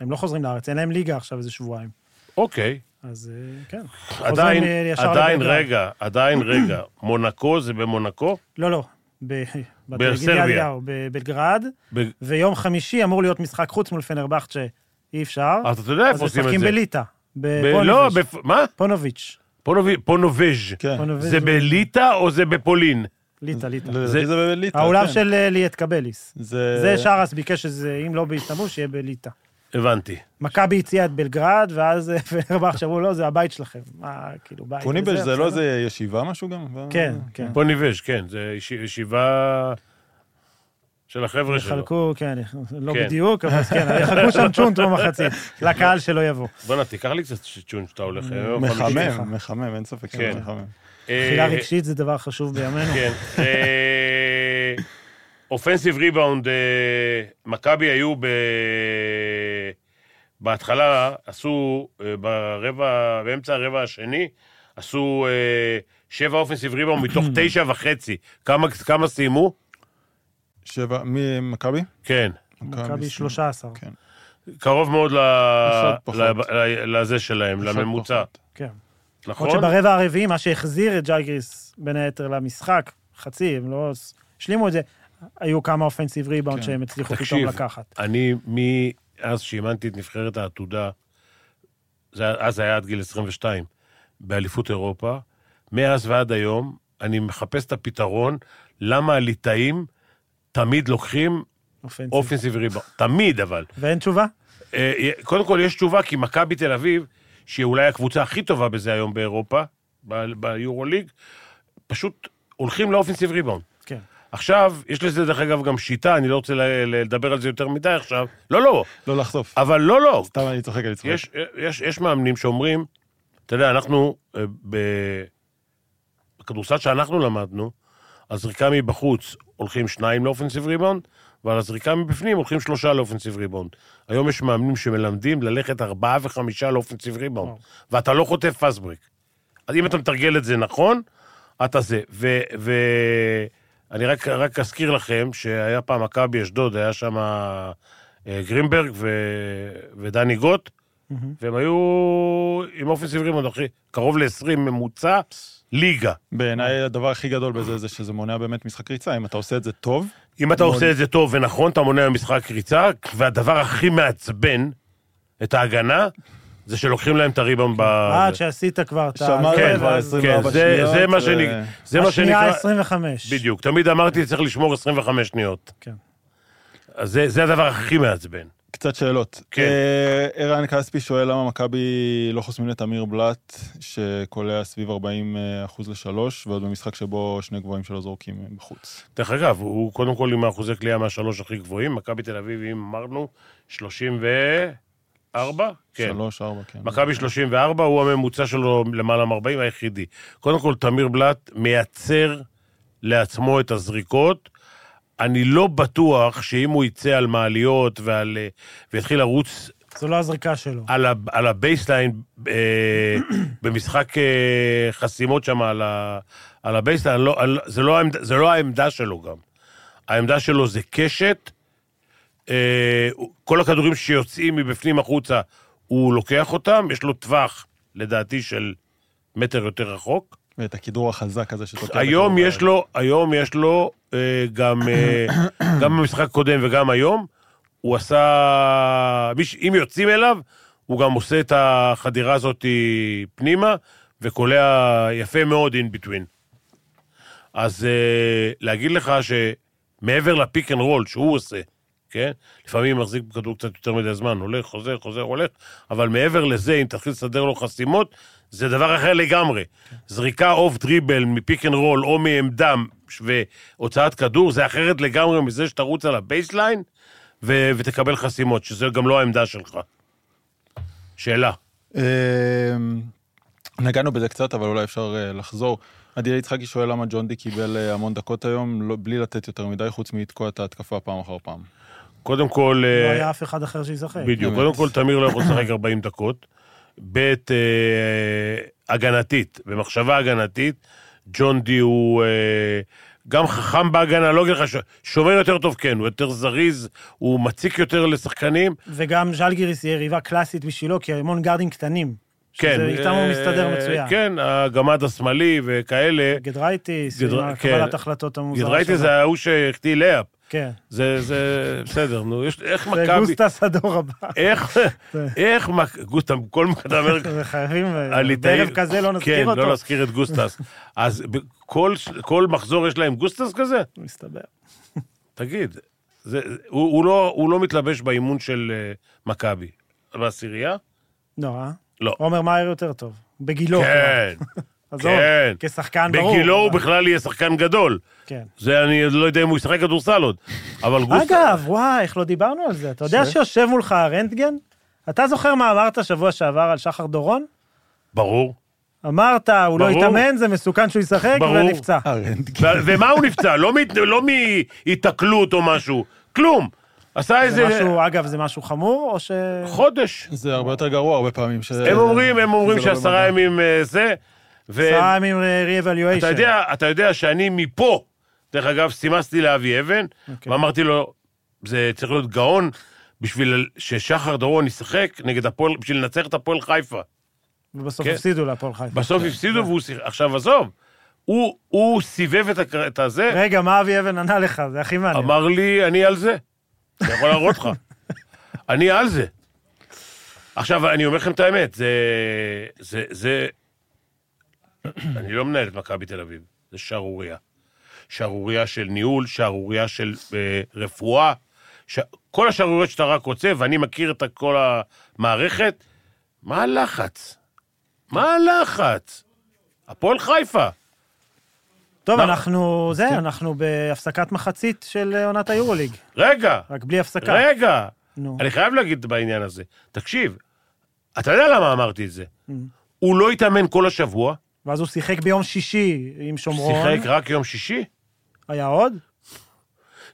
[SPEAKER 3] הם לא חוזרים לארץ, אין להם ליגה עכשיו איזה שבועיים.
[SPEAKER 2] אוקיי.
[SPEAKER 3] אז אה, כן.
[SPEAKER 2] עדיין,
[SPEAKER 3] חוזרים, אה, ישר
[SPEAKER 2] עדיין,
[SPEAKER 3] לבלגרד.
[SPEAKER 2] רגע, עדיין, רגע. מונקו זה במונקו?
[SPEAKER 3] לא, לא. ב-
[SPEAKER 2] בסרביה.
[SPEAKER 3] בטרגיניה, בבלגרד,
[SPEAKER 2] ב-
[SPEAKER 3] ויום חמישי אמור להיות משחק חוץ מול פנרבכצ'ה, אי אפשר.
[SPEAKER 2] אז אתה יודע
[SPEAKER 3] אז
[SPEAKER 2] איפה עושים את
[SPEAKER 3] משחקים
[SPEAKER 2] זה.
[SPEAKER 3] בליטא,
[SPEAKER 2] ב- לא,
[SPEAKER 3] בפונוביץ'.
[SPEAKER 2] בפ- מה?
[SPEAKER 3] פונוביץ'.
[SPEAKER 2] פונובי- פונובז'.
[SPEAKER 4] כן.
[SPEAKER 3] פונוביץ'
[SPEAKER 2] זה בליטא או זה בפולין?
[SPEAKER 3] ליטא, ליטא.
[SPEAKER 4] לדעתי זה בליטא,
[SPEAKER 3] האולם
[SPEAKER 4] כן.
[SPEAKER 3] של אה, ליאת קבליס.
[SPEAKER 4] זה...
[SPEAKER 3] זה שרס ביקש שזה, אם לא באיסטנבול, שיהיה בליטא.
[SPEAKER 2] הבנתי.
[SPEAKER 3] מכבי הציעה את בלגרד, ואז אה, פנרבכצ'ה אמרו, לא, זה הבית שלכם. מה, כאילו, בית...
[SPEAKER 4] פוניבל
[SPEAKER 3] וזה,
[SPEAKER 4] זה לא
[SPEAKER 3] בסדר?
[SPEAKER 4] איזה ישיבה משהו גם?
[SPEAKER 3] כן, כן.
[SPEAKER 2] פונובז', כן, זה יש- ישיבה של החבר'ה שלו.
[SPEAKER 3] חלקו, כן, לא
[SPEAKER 2] כן.
[SPEAKER 3] בדיוק, אבל כן, יחלקו שם צ'ונט במחצית, לקהל שלא יבוא.
[SPEAKER 2] בוא'נה, תיקח לי קצת צ'ון שאתה הולך. יום חמישי.
[SPEAKER 4] מחמם, מחמם, אין ספק שזה
[SPEAKER 2] לא, כן.
[SPEAKER 4] מחמם.
[SPEAKER 2] אה,
[SPEAKER 3] תחילה רגשית זה דבר חשוב בימינו.
[SPEAKER 2] כן. אה, אופנסיב ריבאונד, אה, מכבי היו ב... בהתחלה עשו, אה, ברבע, באמצע הרבע השני, עשו אה, שבע אופנסיב ריבאונד מתוך תשע וחצי. כמה, כמה סיימו?
[SPEAKER 4] שבע, מי מכבי?
[SPEAKER 2] כן.
[SPEAKER 3] מכבי 13,
[SPEAKER 4] כן.
[SPEAKER 2] קרוב מאוד ל...
[SPEAKER 4] פחות, פחות.
[SPEAKER 2] ל- ל- לזה שלהם,
[SPEAKER 4] פחות,
[SPEAKER 2] לממוצע.
[SPEAKER 4] פחות.
[SPEAKER 3] כן.
[SPEAKER 2] נכון?
[SPEAKER 3] למרות שברבע הרביעי, מה שהחזיר את ג'אגריס, בין היתר למשחק, חצי, הם לא הס- השלימו את זה, היו כמה אופנסיב ריבאונד
[SPEAKER 4] כן.
[SPEAKER 3] שהם הצליחו פתאום
[SPEAKER 2] תקשיב,
[SPEAKER 3] לקחת.
[SPEAKER 2] אני, מאז שאימנתי את נבחרת העתודה, זה, היה- אז זה היה עד גיל 22, באליפות אירופה, מאז ועד היום, אני מחפש את הפתרון למה הליטאים תמיד לוקחים
[SPEAKER 3] אופנסיב.
[SPEAKER 2] אופנסיב ריבאונד. תמיד, אבל.
[SPEAKER 3] ואין תשובה?
[SPEAKER 2] אה, קודם כל, יש תשובה, כי מכבי תל אביב, שהיא אולי הקבוצה הכי טובה בזה היום באירופה, ב- ביורוליג, פשוט הולכים לאופנסיב ריבאונד.
[SPEAKER 3] כן.
[SPEAKER 2] עכשיו, יש לזה דרך אגב גם שיטה, אני לא רוצה ל- לדבר על זה יותר מדי עכשיו. לא, לא,
[SPEAKER 4] לא לחשוף.
[SPEAKER 2] אבל לא, לא.
[SPEAKER 4] סתם אני צוחק, אני צוחק.
[SPEAKER 2] יש, יש, יש מאמנים שאומרים, אתה יודע, אנחנו, אה, ב- בכדורסל שאנחנו למדנו, הזריקה מבחוץ הולכים שניים לאופנסיב ריבאונד, ועל הזריקה מבפנים הולכים שלושה לאופנסיב ריבאונד. היום יש מאמנים שמלמדים ללכת ארבעה וחמישה לאופנסיב ריבאונד,
[SPEAKER 3] וואו.
[SPEAKER 2] ואתה לא חוטף פסבריק. אז אם אתה מתרגל את זה נכון, אתה זה. ו... ו... אני רק, רק אזכיר לכם שהיה פעם מכבי אשדוד, היה שם גרינברג ו, ודני גוט,
[SPEAKER 3] מהמם.
[SPEAKER 2] והם היו עם אופנסיב ריבאונד הכי קרוב ל-20 ממוצע, ליגה.
[SPEAKER 4] בעיניי הדבר הכי גדול בזה זה שזה מונע באמת משחק ריצה. אם אתה עושה את זה טוב,
[SPEAKER 2] אם אתה
[SPEAKER 4] מאוד.
[SPEAKER 2] עושה את זה טוב ונכון, אתה מונע משחק ריצה, והדבר הכי מעצבן את ההגנה, זה שלוקחים להם את הריבאונד ב...
[SPEAKER 3] עד שעשית כבר את ה...
[SPEAKER 4] שמרת
[SPEAKER 2] כן,
[SPEAKER 4] כבר
[SPEAKER 2] כן,
[SPEAKER 4] 24
[SPEAKER 2] זה-
[SPEAKER 4] שניות.
[SPEAKER 2] זה מה
[SPEAKER 4] ו-
[SPEAKER 2] שנק- זה מה
[SPEAKER 3] השנייה
[SPEAKER 2] שנקרא...
[SPEAKER 3] 25.
[SPEAKER 2] בדיוק. תמיד אמרתי, צריך לשמור 25 שניות.
[SPEAKER 3] כן.
[SPEAKER 2] אז זה, זה הדבר הכי מעצבן.
[SPEAKER 4] קצת שאלות.
[SPEAKER 2] כן.
[SPEAKER 4] אה, ערן כספי שואל למה מכבי לא חוסמים לתמיר בלאט, שקולע סביב 40 אחוז לשלוש, ועוד במשחק שבו שני גבוהים שלו זורקים בחוץ.
[SPEAKER 2] דרך אגב, הוא קודם כל עם האחוזי קליעה מהשלוש הכי גבוהים, מכבי תל אביב, אם אמרנו, 34? כן.
[SPEAKER 4] שלוש, ארבע, כן.
[SPEAKER 2] מכבי 34, הוא הממוצע שלו למעלה מ-40, היחידי. קודם כל, תמיר בלאט מייצר לעצמו את הזריקות. אני לא בטוח שאם הוא יצא על מעליות ועל, אה, ויתחיל לרוץ
[SPEAKER 3] זו לא הזריקה שלו.
[SPEAKER 2] על, ה, על הבייסליין אה, במשחק אה, חסימות שם על, ה- על הבייסליין, לא, על, זה, לא העמד, זה לא העמדה שלו גם. העמדה שלו זה קשת, אה, הוא- כל הכדורים שיוצאים מבפנים החוצה, הוא לוקח אותם, יש לו טווח, לדעתי, של מטר יותר רחוק.
[SPEAKER 4] ואת הכידור החזק הזה שתוקע. את
[SPEAKER 2] היום
[SPEAKER 4] הכדור
[SPEAKER 2] יש לו, היום יש לו, אה, גם, אה, גם במשחק הקודם וגם היום, הוא עשה, מי ש- אם יוצאים אליו, הוא גם עושה את החדירה הזאת פנימה, וקולע יפה מאוד in between. אז אה, להגיד לך שמעבר לפיק אנד רול שהוא עושה, כן? לפעמים מחזיק בכדור קצת יותר מדי זמן, הולך, חוזר, חוזר, הולך, אבל מעבר לזה, אם תתחיל לסדר לו חסימות, זה דבר אחר לגמרי. זריקה אוף דריבל מפיק אנד רול או מעמדה והוצאת כדור, זה אחרת לגמרי מזה שתרוץ על הבייסליין ו- ותקבל חסימות, שזה גם לא העמדה שלך. שאלה.
[SPEAKER 4] אמ, נגענו בזה קצת, אבל אולי אפשר אה, לחזור. עדיאל יצחקי שואל למה ג'ונדי קיבל אה, המון דקות היום, לא- בלי לתת יותר מדי, חוץ מלתקוע את ההתקפה פעם אחר פעם.
[SPEAKER 2] קודם כל...
[SPEAKER 3] לא
[SPEAKER 2] אה,
[SPEAKER 3] היה אף אחד אחר שישחק.
[SPEAKER 2] בדיוק.
[SPEAKER 4] באמת.
[SPEAKER 2] קודם כל, תמיר לא יכול לשחק 40 דקות. ב', אה, הגנתית, במחשבה הגנתית, ג'ון די הוא אה, גם חכם בהגנה, לא אגיד לך, ש- שומר יותר טוב, כן, הוא יותר זריז, הוא מציק יותר לשחקנים.
[SPEAKER 3] וגם ז'לגיריס היא יריבה קלאסית בשבילו, כי המון גארדים קטנים.
[SPEAKER 2] כן.
[SPEAKER 3] שזה איתם הוא
[SPEAKER 2] אה,
[SPEAKER 3] מסתדר מצוין. כן,
[SPEAKER 2] כן, הגמד השמאלי וכאלה.
[SPEAKER 3] גדרייטיס,
[SPEAKER 2] גדר-
[SPEAKER 3] עם
[SPEAKER 2] כן.
[SPEAKER 3] קבלת החלטות המוזרה
[SPEAKER 2] גדרייטי זה ההוא שהחטיא לאפ.
[SPEAKER 3] כן.
[SPEAKER 2] זה, זה, בסדר, נו, יש, איך
[SPEAKER 3] זה
[SPEAKER 2] מכבי,
[SPEAKER 3] גוסטס הדור הבא.
[SPEAKER 2] איך,
[SPEAKER 3] זה-
[SPEAKER 2] איך, מק- גוסטם, כל מקדם,
[SPEAKER 3] זה חייבים,
[SPEAKER 2] הליטאים...
[SPEAKER 3] אה, בערב כזה לא נזכיר
[SPEAKER 2] אה, כן, לא
[SPEAKER 3] אותו.
[SPEAKER 2] נזכיר את גוסטס. אז ב- כל, כל מחזור יש להם גוסטס כזה?
[SPEAKER 3] מסתבר.
[SPEAKER 2] תגיד, זה, הוא, הוא, לא, הוא לא מתלבש באימון של אה, מכבי. בעשירייה?
[SPEAKER 3] לא, אה?
[SPEAKER 2] לא.
[SPEAKER 3] עומר מאייר יותר טוב. בגילו. כלומר.
[SPEAKER 2] כן,
[SPEAKER 3] עזוב,
[SPEAKER 2] כן.
[SPEAKER 3] כשחקן אוקיי, ברור.
[SPEAKER 2] בגילו הוא
[SPEAKER 3] אבל-
[SPEAKER 2] בכלל יהיה שחקן גדול.
[SPEAKER 3] כן.
[SPEAKER 2] זה, אני לא יודע אם הוא ישחק כדורסל עוד. אבל גוסטס...
[SPEAKER 3] אגב, וואי, איך לא דיברנו על זה. אתה יודע
[SPEAKER 4] ש?
[SPEAKER 3] שיושב מולך הרנטגן? אתה זוכר מה אמרת שבוע שעבר על שחר דורון?
[SPEAKER 2] ברור.
[SPEAKER 3] אמרת, הוא לא
[SPEAKER 2] ברור.
[SPEAKER 3] יתאמן, זה מסוכן שהוא ישחק,
[SPEAKER 2] ברור. אה,
[SPEAKER 3] ונפצע.
[SPEAKER 4] הרנטגן.
[SPEAKER 2] ו- ומה הוא נפצע? לא מת- לא מהיתקלות או משהו. כלום. עשה
[SPEAKER 3] זה
[SPEAKER 2] איזה
[SPEAKER 3] משהו, אגב, זה משהו חמור, או ש...
[SPEAKER 2] אה, חודש.
[SPEAKER 4] זה הרבה יותר גרוע הרבה פעמים. ש-
[SPEAKER 2] הם אומרים, הם אומרים
[SPEAKER 4] זה לא במדע.
[SPEAKER 2] שעשרה ימים אה, זה. ו-
[SPEAKER 3] עשרה ימים אה, re-evaluation.
[SPEAKER 2] אתה יודע, אתה יודע שאני מפה, דרך אגב, סימסתי לאבי אבן,
[SPEAKER 3] אוקיי.
[SPEAKER 2] ואמרתי לו, זה צריך להיות גאון בשביל ששחר דורון ישחק נגד הפועל, בשביל לנצח את הפועל חיפה.
[SPEAKER 3] ובסוף
[SPEAKER 2] כן.
[SPEAKER 3] הפסידו להפועל חיפה.
[SPEAKER 2] בסוף הפסידו והוא שיחק. עכשיו, עזוב, הוא- הוא סיבב את הקר- את הזה,
[SPEAKER 3] רגע, מה אבי אבן ענה לך? זה הכי מעניין.
[SPEAKER 2] אמר לי, אני על זה. אני יכול להראות לך. אני על זה. עכשיו, אני אומר לכם את האמת, זה... זה... זה... אני לא מנהל את מכבי תל אביב, זה שערורייה. שערורייה של ניהול, שערורייה של אה, רפואה, ש... כל השערוריות שאתה רק רוצה, ואני מכיר את כל המערכת, מה הלחץ? מה הלחץ? הפועל חיפה.
[SPEAKER 3] טוב,
[SPEAKER 2] מה-
[SPEAKER 3] אנחנו...
[SPEAKER 2] כן.
[SPEAKER 3] זה, אנחנו בהפסקת מחצית של אה, עונת היורוליג.
[SPEAKER 2] רגע,
[SPEAKER 3] רק בלי הפסקה.
[SPEAKER 2] רגע,
[SPEAKER 3] נו.
[SPEAKER 2] אני חייב להגיד בעניין הזה. תקשיב, אתה יודע למה אמרתי את זה. הוא לא התאמן כל השבוע,
[SPEAKER 3] ואז הוא שיחק ביום שישי עם שומרון.
[SPEAKER 2] שיחק רק יום שישי,
[SPEAKER 3] היה עוד?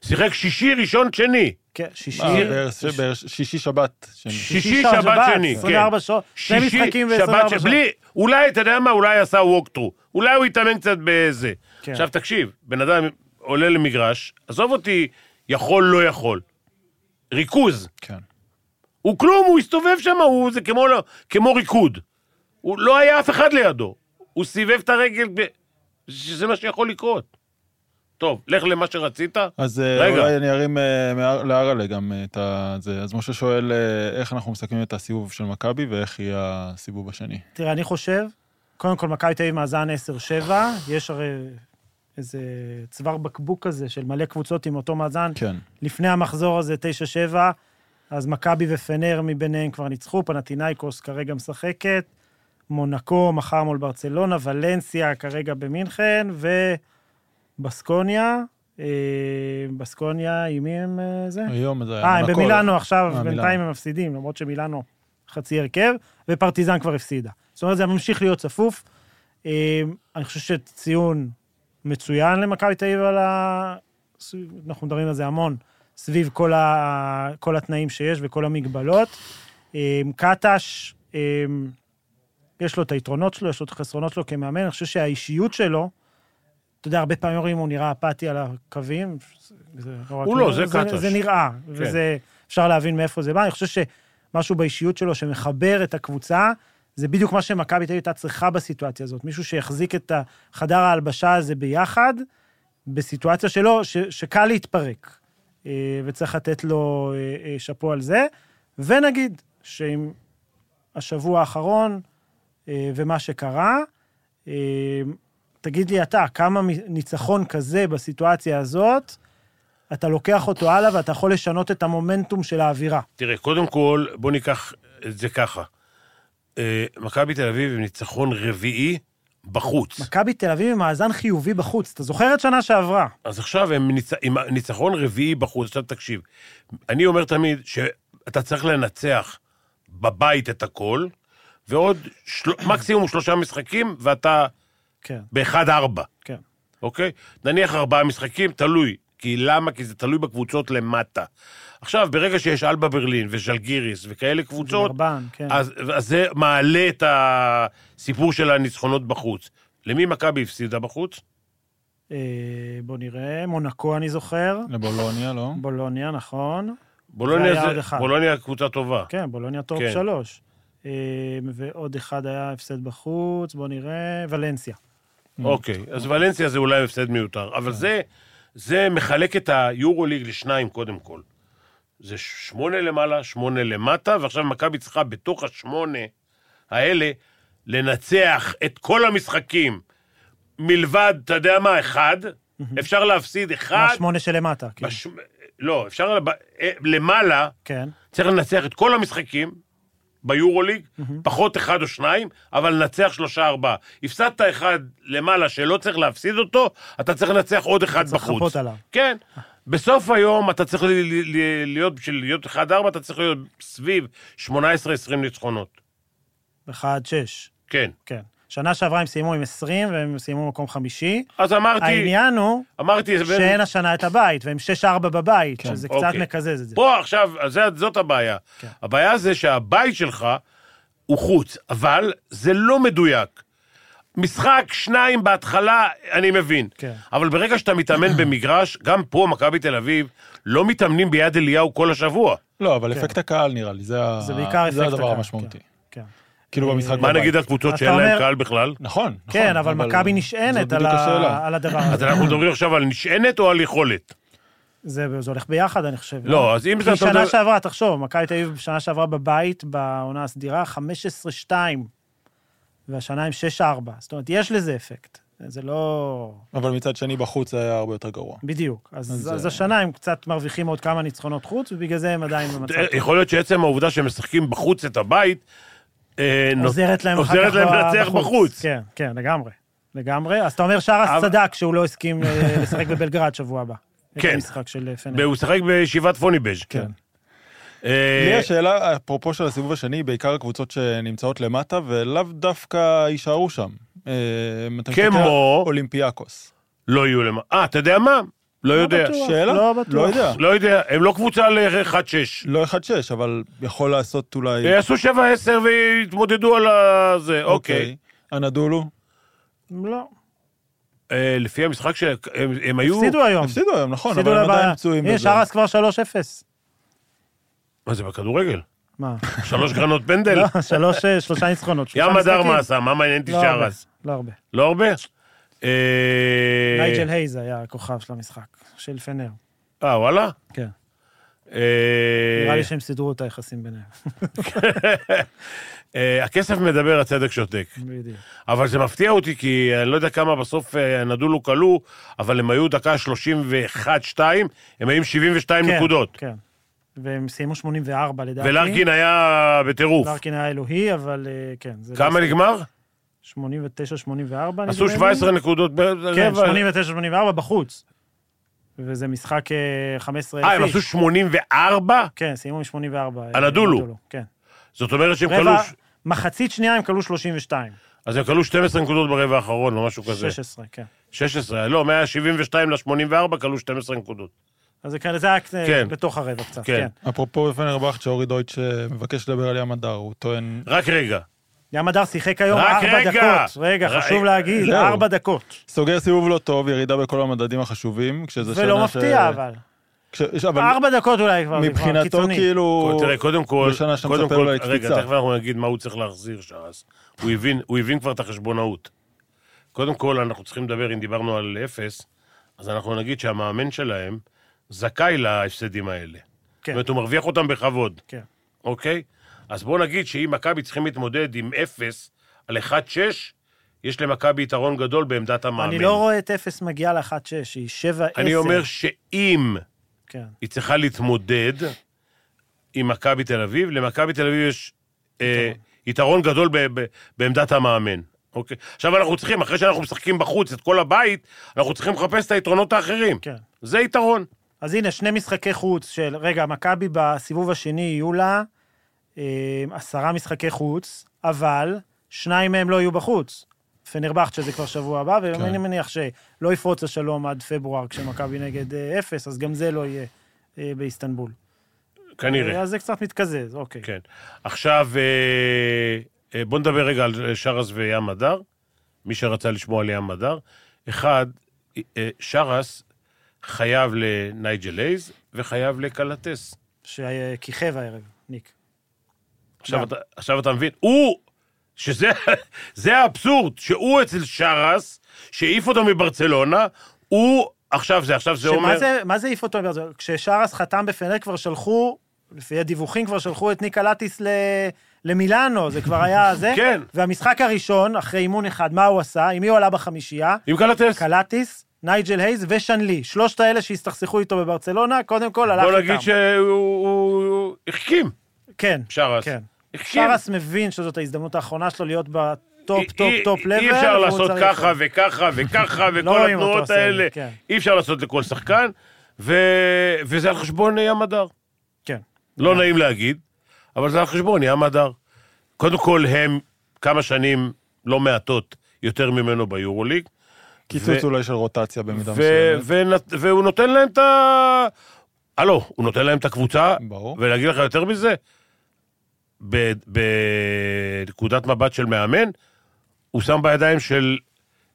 [SPEAKER 2] שיחק שישי, ראשון, שני.
[SPEAKER 3] כן, שישי.
[SPEAKER 4] אה, באר- ש- באר- שישי שבת. שני.
[SPEAKER 2] שישי, שבת, שני, כן.
[SPEAKER 3] 24 שעות. שני
[SPEAKER 2] שישי,
[SPEAKER 3] משחקים
[SPEAKER 2] שבת,
[SPEAKER 3] ב-24
[SPEAKER 2] ש-
[SPEAKER 3] שעות.
[SPEAKER 2] בלי, אולי, אתה יודע מה, אולי עשה ווקטרו. אולי הוא התאמן קצת בזה.
[SPEAKER 3] כן.
[SPEAKER 2] עכשיו, תקשיב, בן אדם עולה למגרש, עזוב אותי, יכול, לא יכול. ריכוז.
[SPEAKER 4] כן.
[SPEAKER 2] הוא כלום, הוא הסתובב שם, הוא זה כמו, לא- כמו ריקוד. הוא לא היה אף אחד לידו. הוא סיבב את הרגל, ב... שזה מה שיכול לקרות. טוב, לך למה שרצית.
[SPEAKER 4] אז אה,
[SPEAKER 2] רגע.
[SPEAKER 4] אולי אני ארים אה, מה- לארלה גם אה, את ה- זה. אז משה שואל אה, איך אנחנו מסכמים את הסיבוב של מכבי ואיך יהיה הסיבוב השני.
[SPEAKER 3] תראה, אני חושב, קודם כל, מכבי תל אביב מאזן 10-7, יש הרי איזה צוואר בקבוק כזה של מלא קבוצות עם אותו מאזן.
[SPEAKER 4] כן.
[SPEAKER 3] לפני המחזור הזה, 9-7, אז מכבי ופנר מביניהם כבר ניצחו, פנטינאיקוס כרגע משחקת, מונקו מחר מול ברצלונה, ולנסיה כרגע במינכן, ובסקוניה, אה, בסקוניה, עם מי הם אה, זה?
[SPEAKER 4] היום זה היה
[SPEAKER 3] אה, הם
[SPEAKER 4] מונקו.
[SPEAKER 3] במילאנו עכשיו,
[SPEAKER 4] אה,
[SPEAKER 3] בינתיים
[SPEAKER 4] מילאנו.
[SPEAKER 3] הם מפסידים, למרות שמילאנו חצי הרכב, ופרטיזן כבר הפסידה. זאת אומרת, זה ממשיך להיות צפוף. אה, אני חושב שציון מצוין למכבי תל אביב על ה... סביב- אנחנו מדברים על זה המון, סביב כל, ה... כל התנאים שיש וכל המגבלות. אה, קטש, אה, יש לו את היתרונות שלו, יש לו את החסרונות שלו כמאמן, אני חושב שהאישיות שלו, אתה יודע, הרבה פעמים אומרים, הוא נראה אפאתי על הקווים. זה רק
[SPEAKER 2] הוא לא,
[SPEAKER 3] נראה,
[SPEAKER 2] זה קטש.
[SPEAKER 3] זה נראה, וזה, אפשר להבין מאיפה זה בא. אני חושב שמשהו באישיות שלו שמחבר את הקבוצה, זה בדיוק מה שמכבי תל אביב הייתה צריכה בסיטואציה הזאת. מישהו שיחזיק את חדר ההלבשה הזה ביחד, בסיטואציה שלו, ש, שקל להתפרק, אה, וצריך לתת לו אה, אה, שאפו על זה. ונגיד שעם השבוע האחרון אה, ומה שקרה, אה, תגיד לי אתה, כמה מ- ניצחון כזה בסיטואציה הזאת, אתה לוקח אותו הלאה ואתה יכול לשנות את המומנטום של האווירה.
[SPEAKER 2] תראה, קודם כל, בוא ניקח את זה ככה. אה, מכבי תל אביב עם ניצחון רביעי בחוץ.
[SPEAKER 3] מכבי תל אביב עם מאזן חיובי בחוץ, אתה זוכר את שנה שעברה?
[SPEAKER 2] אז עכשיו הם ניצ... עם ניצחון רביעי בחוץ. עכשיו תקשיב, אני אומר תמיד שאתה צריך לנצח בבית את הכל, ועוד של... מקסימום שלושה משחקים, ואתה
[SPEAKER 3] כן,
[SPEAKER 2] באחד-ארבע.
[SPEAKER 3] כן.
[SPEAKER 2] אוקיי? נניח ארבעה משחקים, תלוי. כי למה? כי זה תלוי בקבוצות למטה. עכשיו, ברגע שיש אלבה ברלין וז'לגיריס וכאלה קבוצות,
[SPEAKER 3] גרבן, כן.
[SPEAKER 2] אז, אז זה מעלה את הסיפור של הניצחונות בחוץ. למי מכבי הפסידה בחוץ?
[SPEAKER 3] אה, בוא נראה, מונקו אני זוכר,
[SPEAKER 2] Mm.
[SPEAKER 4] לבולוניה, לא?
[SPEAKER 3] בולוניה, נכון.
[SPEAKER 2] בולוניה,
[SPEAKER 3] היה
[SPEAKER 2] זה
[SPEAKER 3] עוד אחד.
[SPEAKER 2] בולוניה קבוצה טובה.
[SPEAKER 3] כן, בולוניה טופ
[SPEAKER 2] כן.
[SPEAKER 3] שלוש. אה, ועוד אחד היה הפסד בחוץ, בואו נראה, ולנסיה.
[SPEAKER 2] אוקיי, אז ולנסיה זה אולי הפסד מיותר, אבל זה, זה מחלק את היורוליג לשניים קודם כל. זה שמונה למעלה, שמונה למטה, ועכשיו מכבי צריכה בתוך השמונה האלה לנצח את כל המשחקים מלבד, אתה יודע מה, אחד. אפשר להפסיד אחד.
[SPEAKER 3] מהשמונה שלמטה, כאילו.
[SPEAKER 2] בש... לא, אפשר לב- אה, למעלה,
[SPEAKER 3] כן.
[SPEAKER 2] צריך לנצח את כל המשחקים ביורוליג,
[SPEAKER 3] Mhm.
[SPEAKER 2] פחות אחד או שניים, אבל לנצח שלושה-ארבעה. הפסדת אחד למעלה שלא צריך להפסיד אותו, אתה צריך לנצח עוד אחד
[SPEAKER 3] צריך
[SPEAKER 2] בחוץ.
[SPEAKER 3] לחפות עליו.
[SPEAKER 2] כן. בסוף היום אתה צריך ל- ל- ל- להיות, בשביל להיות 1-4, אתה צריך להיות סביב 18-20 ניצחונות.
[SPEAKER 3] אחד, שש.
[SPEAKER 2] כן.
[SPEAKER 3] כן. שנה שעברה הם סיימו עם 20, והם סיימו במקום חמישי.
[SPEAKER 2] אז אמרתי,
[SPEAKER 3] העניין הוא
[SPEAKER 2] אמרתי, זה בין-
[SPEAKER 3] שאין השנה את הבית, והם 6-4 בבית,
[SPEAKER 4] כן.
[SPEAKER 3] שזה קצת
[SPEAKER 2] אוקיי.
[SPEAKER 3] מקזז את זה.
[SPEAKER 2] פה עכשיו, זה, זאת הבעיה.
[SPEAKER 3] כן.
[SPEAKER 2] הבעיה זה שהבית שלך הוא חוץ, אבל זה לא מדויק. משחק, שניים בהתחלה, אני מבין.
[SPEAKER 3] כן.
[SPEAKER 2] אבל ברגע שאתה מתאמן במגרש, גם פה, מכבי תל אביב, לא מתאמנים ביד אליהו כל השבוע.
[SPEAKER 4] לא, אבל אפקט הקהל נראה לי, זה ה-
[SPEAKER 3] כן. זה בעיקר אפקט
[SPEAKER 4] זה הדבר
[SPEAKER 3] הקהל, כן,
[SPEAKER 4] המשמעותי.
[SPEAKER 3] כן.
[SPEAKER 4] כאילו במשחק
[SPEAKER 2] מה
[SPEAKER 4] בבית.
[SPEAKER 2] נגיד על קבוצות
[SPEAKER 3] אתה
[SPEAKER 2] שאין
[SPEAKER 3] אומר-
[SPEAKER 2] להם קהל בכלל?
[SPEAKER 4] נכון, נכון.
[SPEAKER 3] כן, אבל מכבי
[SPEAKER 4] זאת
[SPEAKER 3] נשענת על
[SPEAKER 4] בדיוק
[SPEAKER 3] ה-
[SPEAKER 4] השאלה.
[SPEAKER 3] על הדבר
[SPEAKER 2] אז
[SPEAKER 3] הזה.
[SPEAKER 2] אנחנו מדברים עכשיו על נשענת או על יכולת?
[SPEAKER 3] זה זה הולך ביחד, אני חושב.
[SPEAKER 2] לא, אז אם זה...
[SPEAKER 3] כי
[SPEAKER 2] אתה
[SPEAKER 3] שנה
[SPEAKER 2] מדבר-
[SPEAKER 3] שעברה, תחשוב, מכבי תל אביב בשנה שעברה בבית, בעונה הסדירה, 15-2, והשנה עם 6-4. זאת אומרת, יש לזה אפקט. זה לא...
[SPEAKER 4] אבל מצד שני, בחוץ זה היה הרבה יותר גרוע.
[SPEAKER 3] בדיוק. אז,
[SPEAKER 4] אז,
[SPEAKER 3] אז
[SPEAKER 4] אה,
[SPEAKER 3] השנה הם קצת מרוויחים עוד כמה ניצחונות חוץ, ובגלל זה הם עדיין במצב. טוב.
[SPEAKER 2] אה, יכול להיות שעצם העובדה שהם משחקים בחוץ את הבית, אה, נות-
[SPEAKER 3] עוזרת להם אחר כך
[SPEAKER 2] עוזרת להם לנצח בחוץ.
[SPEAKER 3] כן, כן, לגמרי. לגמרי. אז אתה אומר שרס
[SPEAKER 2] אבל-
[SPEAKER 3] צדק שהוא לא הסכים אה, לשחק בבלגרד שבוע הבא. את
[SPEAKER 2] כן.
[SPEAKER 3] המשחק של אה, פנר.
[SPEAKER 2] הוא משחק בישיבת פוניבז'.
[SPEAKER 4] כן.
[SPEAKER 2] אה,
[SPEAKER 4] לי השאלה, אפרופו של הסיבוב השני, בעיקר הקבוצות שנמצאות למטה, ולאו דווקא יישארו שם. אה, אם אתה מסתכל
[SPEAKER 2] כמו?
[SPEAKER 4] על אולימפיאקוס.
[SPEAKER 2] לא יהיו למה. אה, אתה יודע מה? לא יודע.
[SPEAKER 3] בטוח.
[SPEAKER 4] שאלה?
[SPEAKER 3] לא בטוח.
[SPEAKER 4] לא יודע.
[SPEAKER 2] לא יודע, הם לא קבוצה ל-1-6.
[SPEAKER 4] לא 1-6, אבל יכול לעשות אולי...
[SPEAKER 3] לא. אה,
[SPEAKER 2] יעשו 7-10 ויתמודדו על ה- זה, אוקיי.
[SPEAKER 4] אנדולו?
[SPEAKER 3] לא.
[SPEAKER 2] אה, לפי המשחק שלהם, הם היו...
[SPEAKER 3] הפסידו היום.
[SPEAKER 4] הפסידו היום, נכון,
[SPEAKER 3] הפסידו
[SPEAKER 4] אבל הם
[SPEAKER 3] לבעיה.
[SPEAKER 4] עדיין פצועים
[SPEAKER 3] הנה,
[SPEAKER 4] בזה.
[SPEAKER 3] שרס כבר 3-0.
[SPEAKER 2] מה זה, בכדורגל?
[SPEAKER 3] מה?
[SPEAKER 2] שלוש גרנות פנדל?
[SPEAKER 3] לא, שלוש, אה, שלושה ניצחונות. שלושה
[SPEAKER 2] כן. ים הדר
[SPEAKER 3] משחקים.
[SPEAKER 2] מה עשה? מה מעניין אותי
[SPEAKER 3] לא הרבה,
[SPEAKER 2] שרס?
[SPEAKER 3] לא הרבה.
[SPEAKER 2] לא הרבה? אה,
[SPEAKER 3] נייג'ל הייז היה הכוכב של המשחק, של פנר.
[SPEAKER 2] אה, וואלה?
[SPEAKER 3] כן.
[SPEAKER 2] אה,
[SPEAKER 3] נראה לי שהם סידרו את היחסים ביניהם.
[SPEAKER 2] אה, הכסף מדבר, הצדק שותק.
[SPEAKER 3] בדיוק.
[SPEAKER 2] אבל זה מפתיע אותי, כי אני לא יודע כמה בסוף אה, נדולו כלו, אבל הם היו דקה 31-2, הם היו עם 72
[SPEAKER 3] כן,
[SPEAKER 2] נקודות.
[SPEAKER 3] כן. והם סיימו 84 לדעתי.
[SPEAKER 2] ולרקין היה בטירוף.
[SPEAKER 3] לארקין היה אלוהי, אבל אה, כן. זה לא
[SPEAKER 2] כמה
[SPEAKER 3] הספיק.
[SPEAKER 2] נגמר?
[SPEAKER 3] 89-84 נדמה לי.
[SPEAKER 2] עשו 17 נקודות
[SPEAKER 3] כן,
[SPEAKER 2] ברבע.
[SPEAKER 3] 89-84 בחוץ. וזה משחק אה, 15
[SPEAKER 2] אה, הם עשו 84?
[SPEAKER 3] כן, סיימו עם 84. אה,
[SPEAKER 2] על הדולו.
[SPEAKER 3] כן.
[SPEAKER 2] זאת אומרת שהם כלו...
[SPEAKER 3] רבע, מחצית שנייה הם כלו 32.
[SPEAKER 2] אז הם כלו 12 נקודות ברבע האחרון, או משהו כזה.
[SPEAKER 3] 16, כן.
[SPEAKER 2] 16, לא, 172 ל-84, כלו 12 נקודות.
[SPEAKER 3] אז זה כאלה, זה היה קצת
[SPEAKER 2] כן.
[SPEAKER 3] בתוך הרבע קצת,
[SPEAKER 2] כן.
[SPEAKER 3] כן.
[SPEAKER 4] אפרופו פנרבכט, שאורי דויטש אה, מבקש לדבר על ים הדר, הוא טוען...
[SPEAKER 2] רק רגע.
[SPEAKER 3] ים הדר שיחק היום
[SPEAKER 2] רק
[SPEAKER 3] ארבע
[SPEAKER 2] רגע.
[SPEAKER 3] דקות. רגע,
[SPEAKER 2] ר-
[SPEAKER 3] חשוב להגיד,
[SPEAKER 4] זהו.
[SPEAKER 3] ארבע דקות.
[SPEAKER 4] סוגר סיבוב לא טוב, ירידה בכל המדדים החשובים, כשזה שנה
[SPEAKER 3] ולא לא מפתיע, אבל.
[SPEAKER 4] כש... אבל
[SPEAKER 3] ארבע דקות אולי כבר, זה כבר
[SPEAKER 4] מבחינתו
[SPEAKER 3] קיצוני.
[SPEAKER 4] כאילו...
[SPEAKER 2] תראה, קודם כל,
[SPEAKER 4] בשנה שאתה
[SPEAKER 2] קודם
[SPEAKER 4] מצפה
[SPEAKER 2] כל,
[SPEAKER 4] לו
[SPEAKER 2] רגע,
[SPEAKER 4] לקפיצה.
[SPEAKER 2] תכף אנחנו נגיד מה הוא צריך להחזיר, שרס. הוא הבין, הוא הבין כבר את החשבונאות. קודם כל, אנחנו צריכים לדבר, אם דיברנו על אפס, אז אנחנו נגיד שהמאמן שלהם זכאי להפסדים האלה. זאת
[SPEAKER 3] כן,
[SPEAKER 2] אומרת, הוא מרוויח אותם בכבוד.
[SPEAKER 3] כן.
[SPEAKER 2] אוקיי? אז בואו נגיד שאם מכבי צריכים להתמודד עם 0 על 1-6, יש למכבי יתרון גדול בעמדת המאמן.
[SPEAKER 3] אני לא רואה את אפס מגיעה לאחת שש, היא שבע עשר.
[SPEAKER 2] אני אומר שאם
[SPEAKER 3] כן,
[SPEAKER 2] היא צריכה להתמודד עם מכבי תל אביב, למכבי תל אביב יש אה, יתרון גדול ב- ב- בעמדת המאמן. אוקיי? עכשיו אנחנו צריכים, אחרי שאנחנו משחקים בחוץ את כל הבית, אנחנו צריכים לחפש את היתרונות האחרים.
[SPEAKER 3] כן.
[SPEAKER 2] זה יתרון.
[SPEAKER 3] אז הנה, שני משחקי חוץ של... רגע, מכבי בסיבוב השני יהיו לה אה, עשרה משחקי חוץ, אבל שניים מהם לא יהיו בחוץ. פנרבכט, שזה כבר שבוע הבא, ואני מניח שלא יפרוץ השלום עד פברואר, כשמכבי נגד אה, אפס, אז גם זה לא יהיה אה, באיסטנבול. אה,
[SPEAKER 2] כנראה.
[SPEAKER 3] אז זה קצת מתקזז, אוקיי.
[SPEAKER 2] כן. עכשיו, אה, אה, בוא נדבר רגע על אה, שרס וים הדר, מי שרצה לשמוע על ים הדר. אחד, אה, שרס חייב לנייג'ל הייז וחייב לקלטס.
[SPEAKER 3] שכיכב הערב, ניק.
[SPEAKER 2] עכשיו אתה- עכשיו אתה מבין, הוא, שזה זה האבסורד, שהוא אצל שרס, שהעיף אותו מברצלונה, הוא, עכשיו זה, עכשיו זה אומר...
[SPEAKER 3] שמה זה- מה זה העיף אותו? מברזיל? כששרס חתם בפנר כבר שלחו, לפי הדיווחים כבר שלחו את ניקה לטיס ל... למילאנו, זה כבר היה זה.
[SPEAKER 2] כן.
[SPEAKER 3] והמשחק הראשון, אחרי אימון אחד, מה הוא עשה? עם מי הוא עלה בחמישייה?
[SPEAKER 2] עם קלטס,
[SPEAKER 3] קלטיס, נייג'ל הייז ושנלי. שלושת האלה שהסתכסכו איתו בברצלונה, קודם כל הלך איתם.
[SPEAKER 2] בוא נגיד שהוא הוא- הוא החכים,
[SPEAKER 3] כן,
[SPEAKER 2] שרס.
[SPEAKER 3] כן.
[SPEAKER 2] החכים.
[SPEAKER 3] שרס מבין שזאת ההזדמנות האחרונה שלו להיות בטופ,
[SPEAKER 2] אי-
[SPEAKER 3] טופ,
[SPEAKER 2] אי-
[SPEAKER 3] טופ לבל.
[SPEAKER 2] אי אפשר
[SPEAKER 3] והוא
[SPEAKER 2] לעשות
[SPEAKER 3] צריך-
[SPEAKER 2] ככה וככה וככה
[SPEAKER 3] לא
[SPEAKER 2] וכל
[SPEAKER 3] רואים אותו
[SPEAKER 2] התנועות
[SPEAKER 3] עושה את זה,
[SPEAKER 2] האלה.
[SPEAKER 3] כן.
[SPEAKER 2] אי אפשר לעשות לכל שחקן, ו- וזה על חשבון ים הדר.
[SPEAKER 3] כן.
[SPEAKER 2] לא נעים להגיד, אבל זה על חשבון ים הדר. קודם כל, הם כמה שנים לא מעטות יותר ממנו ביורוליג,
[SPEAKER 4] קיצוץ
[SPEAKER 2] ו-
[SPEAKER 4] אולי של רוטציה במידה
[SPEAKER 2] ו-
[SPEAKER 4] מסוימת.
[SPEAKER 2] ונת- והוא נותן להם את ה... הלו, הוא נותן להם את הקבוצה,
[SPEAKER 4] ברור.
[SPEAKER 2] ולהגיד לך יותר מזה, ב- בנקודת מבט של מאמן, הוא שם בידיים של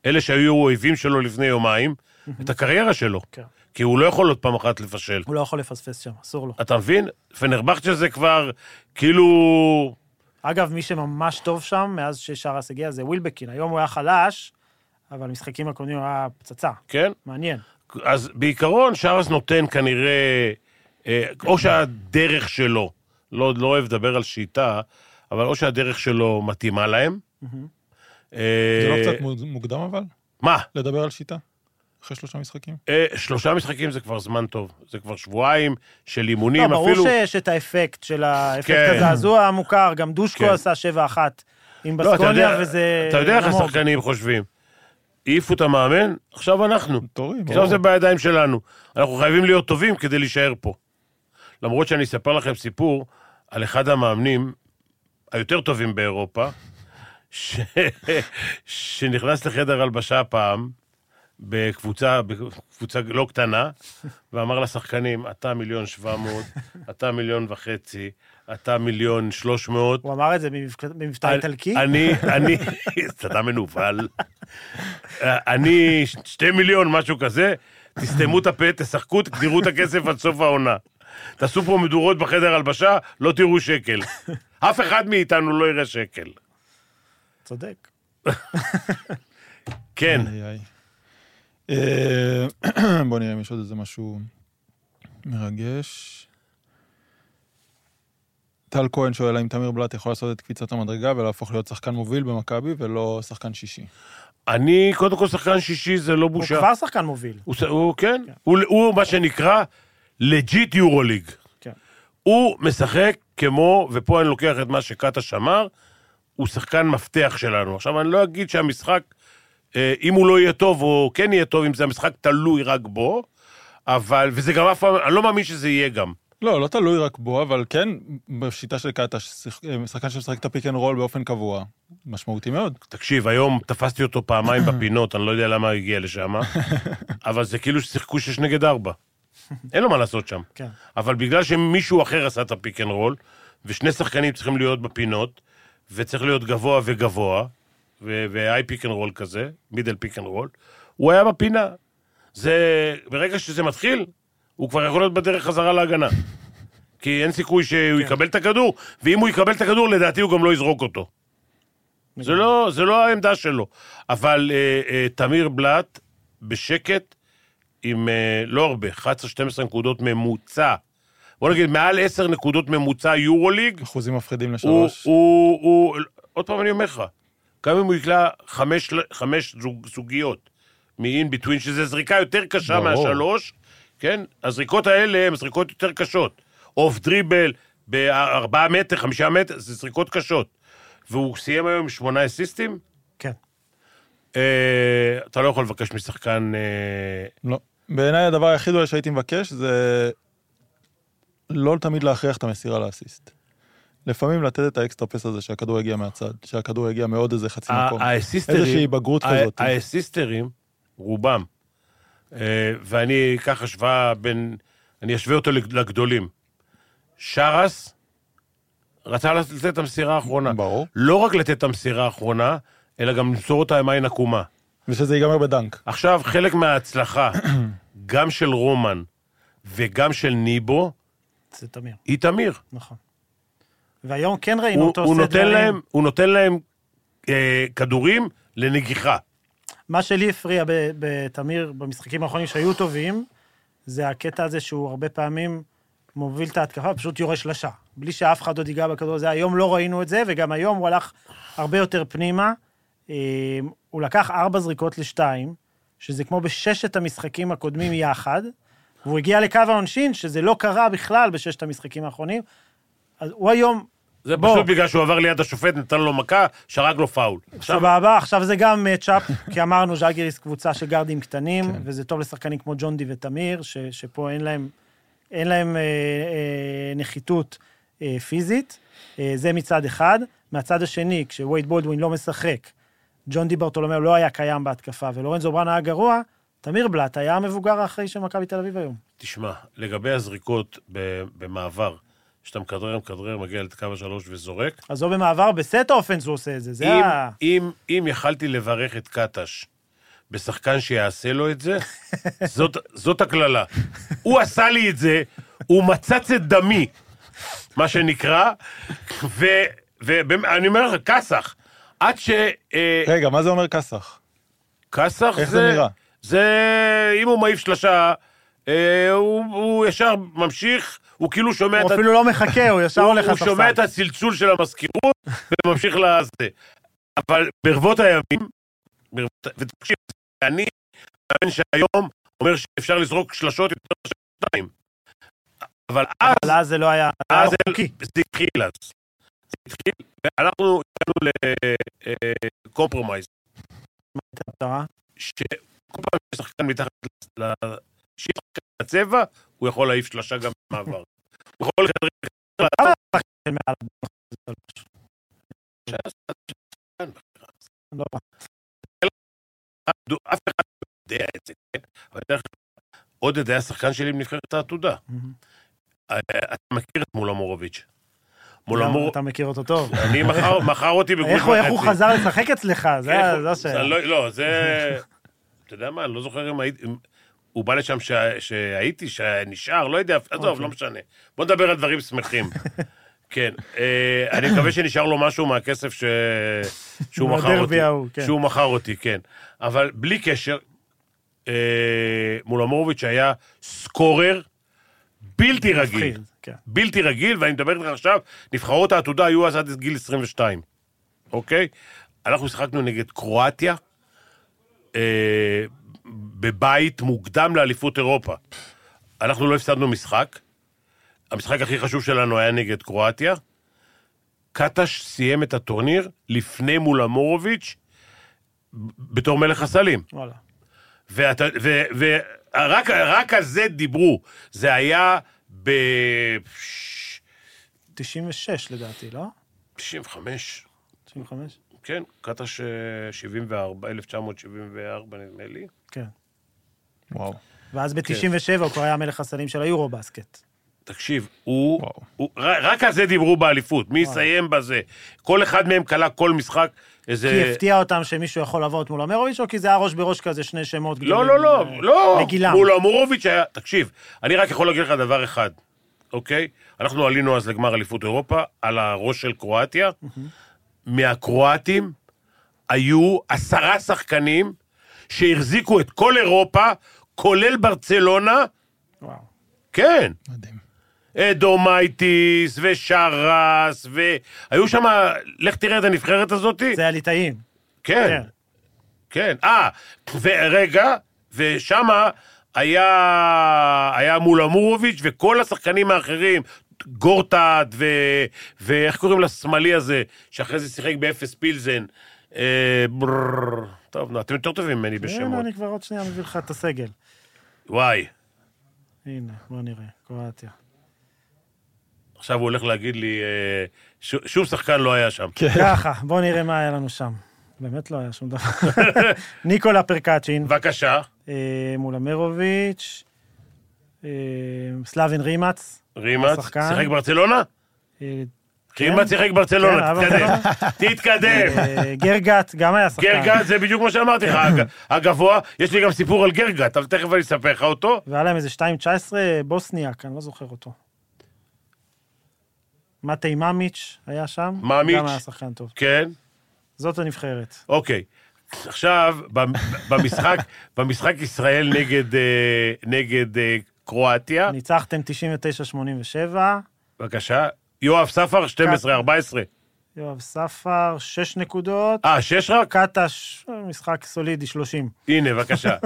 [SPEAKER 2] אלה שהיו אויבים שלו לפני יומיים, את הקריירה שלו.
[SPEAKER 3] כן.
[SPEAKER 2] כי הוא לא יכול עוד פעם אחת לפשל.
[SPEAKER 3] הוא לא יכול לפספס שם, אסור לו.
[SPEAKER 2] אתה מבין? פנרבכצ'ה זה כבר, כאילו...
[SPEAKER 3] אגב, מי שממש טוב שם, מאז ששרס הגיע, זה ווילבקין. היום הוא היה חלש, אבל המשחקים הקודמים הוא היה פצצה.
[SPEAKER 2] כן?
[SPEAKER 3] מעניין.
[SPEAKER 2] אז בעיקרון, שרס נותן כנראה, אה, או שהדרך שלו, לא, לא אוהב לדבר על שיטה, אבל או שהדרך שלו מתאימה להם.
[SPEAKER 4] זה
[SPEAKER 2] אה,
[SPEAKER 4] לא קצת מוד- מוקדם אבל?
[SPEAKER 2] מה?
[SPEAKER 4] לדבר על שיטה? אחרי שלושה משחקים?
[SPEAKER 2] אה, שלושה משחקים זה כבר זמן טוב. זה כבר שבועיים של
[SPEAKER 3] לא,
[SPEAKER 2] אימונים,
[SPEAKER 3] ברור
[SPEAKER 2] אפילו...
[SPEAKER 3] שיש את האפקט של האפקט
[SPEAKER 2] כן.
[SPEAKER 3] הזעזוע המוכר, גם דושקו
[SPEAKER 2] כן.
[SPEAKER 3] עשה 7-1 עם
[SPEAKER 2] לא, אתה יודע-
[SPEAKER 3] בסקוניה, וזה...
[SPEAKER 2] אתה יודע איך
[SPEAKER 3] נמוג.
[SPEAKER 2] השחקנים חושבים. העיפו את המאמן, עכשיו אנחנו.
[SPEAKER 4] תורים.
[SPEAKER 2] עכשיו זה בידיים שלנו. אנחנו חייבים להיות טובים כדי להישאר פה. למרות שאני אספר לכם סיפור על אחד המאמנים היותר טובים באירופה, ש... שנכנס לחדר הלבשה פעם, בקבוצה, בקבוצה לא קטנה, ואמר לשחקנים, אתה מיליון שבע מאות, אתה מיליון וחצי, אתה מיליון שלוש מאות.
[SPEAKER 3] הוא אמר את זה במבק- במבטא איטלקי?
[SPEAKER 2] אני, אני, אתה מנוול. אני שתי מיליון, משהו כזה, תסתמו את הפה, תשחקו, תגדירו את הכסף עד סוף העונה. תעשו פה מדורות בחדר הלבשה, לא תראו שקל. אף אחד מאיתנו לא יראה שקל.
[SPEAKER 3] צודק.
[SPEAKER 2] כן,
[SPEAKER 4] איי, איי. אה, בוא נראה אם יש עוד איזה משהו מרגש. טל כהן שואל האם תמיר בלאט יכול לעשות את קפיצת המדרגה ולהפוך להיות שחקן מוביל במכבי ולא שחקן שישי.
[SPEAKER 2] אני, קודם כל, שחקן שישי זה לא
[SPEAKER 3] הוא
[SPEAKER 2] בושה.
[SPEAKER 3] כבר שחקן מוביל.
[SPEAKER 2] הוא, ש- הוא כן, הוא, הוא מה שנקרא לג'יט יורוליג.
[SPEAKER 3] כן.
[SPEAKER 2] הוא משחק כמו, ופה אני לוקח את מה שקטש אמר, הוא שחקן מפתח שלנו. עכשיו, אני לא אגיד שהמשחק, אה, אם הוא לא יהיה טוב או כן יהיה טוב, אם זה המשחק תלוי רק בו, אבל, וזה גם אף פעם, אני לא מאמין שזה יהיה גם.
[SPEAKER 4] לא, לא תלוי רק בו, אבל כן, בשיטה של קטש, שח- אה, שחקן שמשחק את הפיק אנד רול באופן קבוע, משמעותי מאוד.
[SPEAKER 2] תקשיב, היום תפסתי אותו פעמיים בפינות, אני לא יודע למה הוא הגיע לשם, אבל זה כאילו ששיחקו שש נגד ארבע. אין לו מה לעשות שם.
[SPEAKER 3] כן.
[SPEAKER 2] אבל בגלל שמישהו אחר עשה את הפיק אנד רול, ושני שחקנים צריכים להיות בפינות, וצריך להיות גבוה וגבוה, ו- והיי פיק אנד רול כזה, מידל פיק אנד רול, הוא היה בפינה. זה, ברגע שזה מתחיל, הוא כבר יכול להיות בדרך חזרה להגנה. כי אין סיכוי שהוא יקבל את הכדור, ואם הוא יקבל את הכדור, לדעתי הוא גם לא יזרוק אותו. זה לא, זה לא העמדה שלו. אבל אה, אה, תמיר בלאט, בשקט, עם אה, לא הרבה, 11-12 נקודות ממוצע. בוא נגיד, מעל 10 נקודות ממוצע יורוליג,
[SPEAKER 4] אחוזים מפחידים
[SPEAKER 2] הוא,
[SPEAKER 4] לשלוש.
[SPEAKER 2] הוא, הוא, עוד פעם אני אומר לך, גם אם הוא יקלע חמש, חמש זוג, זוגיות מ-in between, שזה זריקה יותר קשה
[SPEAKER 4] ברור.
[SPEAKER 2] מהשלוש, כן? הזריקות האלה הן זריקות יותר קשות. אוף דריבל, בארבעה מטר, חמישה מטר, זה זריקות קשות. והוא סיים היום עם שמונה אסיסטים,
[SPEAKER 3] כן.
[SPEAKER 2] אה, אתה לא יכול לבקש משחקן... אה,
[SPEAKER 4] לא. בעיניי הדבר היחיד אולי שהייתי מבקש זה לא תמיד להכריח את המסירה לאסיסט. לפעמים לתת את האקסטרה פס הזה שהכדור יגיע מהצד, שהכדור יגיע מעוד איזה חצי מקום.
[SPEAKER 2] ה- האסיסטרים...
[SPEAKER 4] איזושהי בגרות
[SPEAKER 2] ה-
[SPEAKER 4] כזאת.
[SPEAKER 2] האסיסטרים, רובם, אה, ואני אקח השוואה בין... אני אשווה אותו לג- לגדולים. שרס רצה לתת את המסירה האחרונה.
[SPEAKER 4] ברור.
[SPEAKER 2] לא רק לתת את המסירה האחרונה, אלא גם למסור אותה עם עין עקומה.
[SPEAKER 4] ושזה ייגמר בדנק.
[SPEAKER 2] עכשיו, חלק מההצלחה, גם של רומן וגם של ניבו,
[SPEAKER 3] זה תמיר,
[SPEAKER 2] היא תמיר.
[SPEAKER 3] נכון. והיום כן ראינו
[SPEAKER 2] הוא,
[SPEAKER 3] אותו
[SPEAKER 2] הוא,
[SPEAKER 3] עושה
[SPEAKER 2] נותן
[SPEAKER 3] דברים.
[SPEAKER 2] להם, הוא נותן להם אה, כדורים לנגיחה.
[SPEAKER 3] מה שלי הפריע ב- בתמיר במשחקים האחרונים שהיו טובים, זה הקטע הזה שהוא הרבה פעמים מוביל את ההתקפה, פשוט יורה שלשה. בלי שאף אחד עוד ייגע בכדור הזה. היום לא ראינו את זה, וגם היום הוא הלך הרבה יותר פנימה. אה, הוא לקח ארבע זריקות לשתיים, שזה כמו בששת המשחקים הקודמים יחד, והוא הגיע לקו העונשין, שזה לא קרה בכלל בששת המשחקים האחרונים. אז הוא היום
[SPEAKER 2] זה
[SPEAKER 3] בוא.
[SPEAKER 2] פשוט בגלל שהוא עבר ליד השופט, נתן לו מכה, שרק לו פאול. עכשיו,
[SPEAKER 3] סבבה, עכשיו זה גם מצ'אפ, כי אמרנו ז'אגיריס קבוצה של גארדים קטנים,
[SPEAKER 2] כן.
[SPEAKER 3] וזה טוב לשחקנים כמו ג'ונדי ותמיר, ש, שפה אין להם, אין להם אה, אה, נחיתות אה, פיזית. אה, זה מצד אחד. מהצד השני, כשווייד בולדווין לא משחק, ג'ון די ברטולומיאו לא היה קיים בהתקפה, ולורנזו ברן היה גרוע, תמיר בלאט היה המבוגר האחראי של מכבי תל אביב היום.
[SPEAKER 2] תשמע, לגבי הזריקות ב- במעבר, שאתה מכדרר, מכדרר, מגיע לקו השלוש וזורק,
[SPEAKER 3] אז או במעבר בסט האופנס הוא עושה את זה, זה
[SPEAKER 2] אם,
[SPEAKER 3] ה...
[SPEAKER 2] אם, אם יכלתי לברך את קטש בשחקן שיעשה לו את זה, זאת, זאת הקללה. הוא עשה לי את זה, הוא מצץ את דמי, מה שנקרא, ואני אומר לך, כסח, עד ש... אה,
[SPEAKER 4] רגע, מה זה אומר כסח?
[SPEAKER 2] כסח זה...
[SPEAKER 4] איך זה נראה?
[SPEAKER 2] זה... אם הוא מעיף שלושה, אה, הוא, הוא ישר ממשיך, הוא כאילו שומע
[SPEAKER 3] הוא
[SPEAKER 2] את... ה-
[SPEAKER 3] אפילו לא מחכה, הוא ישר
[SPEAKER 2] הוא,
[SPEAKER 3] הולך
[SPEAKER 2] הוא
[SPEAKER 3] לספסל.
[SPEAKER 2] שומע את הצלצול של המזכירות וממשיך לזה. אבל ברבות הימים, ברבות... ותקשיב, אני מאמין שהיום אומר שאפשר לזרוק שלשות יותר מאשר שתיים. אבל אז,
[SPEAKER 3] אבל אז זה לא היה...
[SPEAKER 2] אז
[SPEAKER 3] זה היה חוקי.
[SPEAKER 2] זה התחיל אז. זה התחיל, ואנחנו הגענו אה, לקומפרומייז,
[SPEAKER 3] הייתה הפשרה.
[SPEAKER 2] שכל פעם שיש שחקן מתחת ל... ל- שיש שחקן לצבע, הוא יכול להעיף שלושה גם במעבר. הוא יכול לכדרר
[SPEAKER 3] של מעל הבמה. לא רע.
[SPEAKER 2] דו- אף אחד לא יודע את זה, כן? אבל דרך אגב, עודד היה שחקן שלי בנבחרת העתודה. אה, אתה מכיר את מולה מורוביץ'. מולה
[SPEAKER 3] גם
[SPEAKER 2] מור...
[SPEAKER 3] אתה מכיר אותו טוב.
[SPEAKER 2] אני מכר- מכר אותי בגוש
[SPEAKER 3] איך הוא- איך הוא חזר לשחק אצלך? זה
[SPEAKER 2] איך
[SPEAKER 3] ה-
[SPEAKER 2] הוא-
[SPEAKER 3] זו השאלה.
[SPEAKER 2] זה לא- לא, זה... אתה יודע מה, אני לא זוכר אם הייתי... אם- הוא בא לשם שה- שהייתי, שנשאר, לא יודע, עזוב,
[SPEAKER 3] אוקיי.
[SPEAKER 2] לא משנה. בוא נדבר על דברים שמחים. כן, אה, אני מקווה שנשאר לו משהו מהכסף ש- שהוא מכר אותי.
[SPEAKER 3] מהדרבי ההוא, כן.
[SPEAKER 2] שהוא מכר אותי, כן. אבל בלי קשר, אה, מולמורוביץ' היה סקורר בלתי רגיל.
[SPEAKER 3] מפחיד, כן.
[SPEAKER 2] בלתי רגיל, ואני מדבר איתך עכשיו, נבחרות העתודה היו אז עד גיל 22, אוקיי? אנחנו שיחקנו נגד קרואטיה, אה, בבית מוקדם לאליפות אירופה. אנחנו לא הפסדנו משחק. המשחק הכי חשוב שלנו היה נגד קרואטיה. קטש סיים את הטורניר לפני מול אמורוביץ' בתור מלך הסלים.
[SPEAKER 3] וואלה.
[SPEAKER 2] ואתה, ו, ו, רק, רק על זה דיברו. זה היה ב...
[SPEAKER 3] 96 לדעתי, לא?
[SPEAKER 2] 95,
[SPEAKER 3] 95?
[SPEAKER 2] כן, קטש אה, 74, 1974 נדמה לי.
[SPEAKER 3] כן.
[SPEAKER 4] וואו.
[SPEAKER 2] כן.
[SPEAKER 3] ואז ב-97 הוא כבר היה מלך הסלים של היורו בסקט.
[SPEAKER 2] אה, תקשיב, הוא,
[SPEAKER 4] וואו.
[SPEAKER 2] הוא ר- רק על זה דיברו באליפות, מי יסיים בזה. כל אחד מהם כלה כל משחק איזה...
[SPEAKER 3] כי הפתיע אותם שמישהו יכול לעבור את מול אמרוביץ' או כי זה היה ראש בראש כזה שני שמות
[SPEAKER 2] לא, לא, לא,
[SPEAKER 3] אה,
[SPEAKER 2] לא.
[SPEAKER 3] לגילם.
[SPEAKER 2] מול אמורוביץ' היה... תקשיב, אני רק יכול להגיד לך דבר אחד, אוקיי? אנחנו עלינו אז לגמר אליפות אירופה, על הראש של קרואטיה. מהקרואטים היו עשרה שחקנים שהחזיקו את כל אירופה, כולל ברצלונה,
[SPEAKER 3] וואו.
[SPEAKER 2] כן.
[SPEAKER 4] מדהים.
[SPEAKER 2] אדומייטיס ושרס, והיו שם, לך תראה את הנבחרת הזאתי.
[SPEAKER 3] זה הליטאים.
[SPEAKER 2] כן,
[SPEAKER 3] כן.
[SPEAKER 2] כן. אה, ורגע, ושמה היה, היה מול אמורוביץ' וכל השחקנים האחרים, גורטד, ו... ואיך קוראים לשמאלי הזה, שאחרי זה שיחק באפס פילזן. אה, בררר. טוב, נו, אתם יותר טובים ממני
[SPEAKER 3] הנה,
[SPEAKER 2] בשמות.
[SPEAKER 3] כן, אה, אני כבר עוד שנייה מביא לך את הסגל.
[SPEAKER 2] וואי,
[SPEAKER 3] הנה, בוא נראה. קרואטיה.
[SPEAKER 2] עכשיו הוא הולך להגיד לי, אה, ש- שום שחקן לא היה שם.
[SPEAKER 3] כן. ככה, בוא נראה מה היה לנו שם. באמת לא היה שום דבר. ניקולה פרקצ'ין.
[SPEAKER 2] בבקשה,
[SPEAKER 3] אה, מול אמרוביץ', אה, סלאבין רימץ.
[SPEAKER 2] רימץ,
[SPEAKER 3] השחקן.
[SPEAKER 2] שיחק ברצלונה?
[SPEAKER 3] אה,
[SPEAKER 2] רימץ שיחק ברצלונה,
[SPEAKER 3] כן, אבל-
[SPEAKER 2] תתקדם, תתקדם.
[SPEAKER 3] אה, גרגט, גם היה שחקן.
[SPEAKER 2] גרגט זה בדיוק מה שאמרתי לך, הג- הגבוה, יש לי גם סיפור על גרגט, אבל תכף אני אספר לך אותו.
[SPEAKER 3] אה, והיה להם איזה 2.19 בוסניאק, אני לא זוכר אותו. מטי ממיץ' היה שם.
[SPEAKER 2] ממיץ'.
[SPEAKER 3] גם היה שחקן טוב.
[SPEAKER 2] כן?
[SPEAKER 3] זאת הנבחרת.
[SPEAKER 2] אוקיי. עכשיו, במ- במשחק, במשחק ישראל נגד, אה, נגד אה, קרואטיה,
[SPEAKER 3] ניצחתם 99-87,
[SPEAKER 2] בבקשה, יואב ספר, 12-14.
[SPEAKER 3] יואב ספר, 6 נקודות,
[SPEAKER 2] אה, שש רק?
[SPEAKER 3] קאטה, ש- משחק סולידי, 30.
[SPEAKER 2] הנה, בבקשה.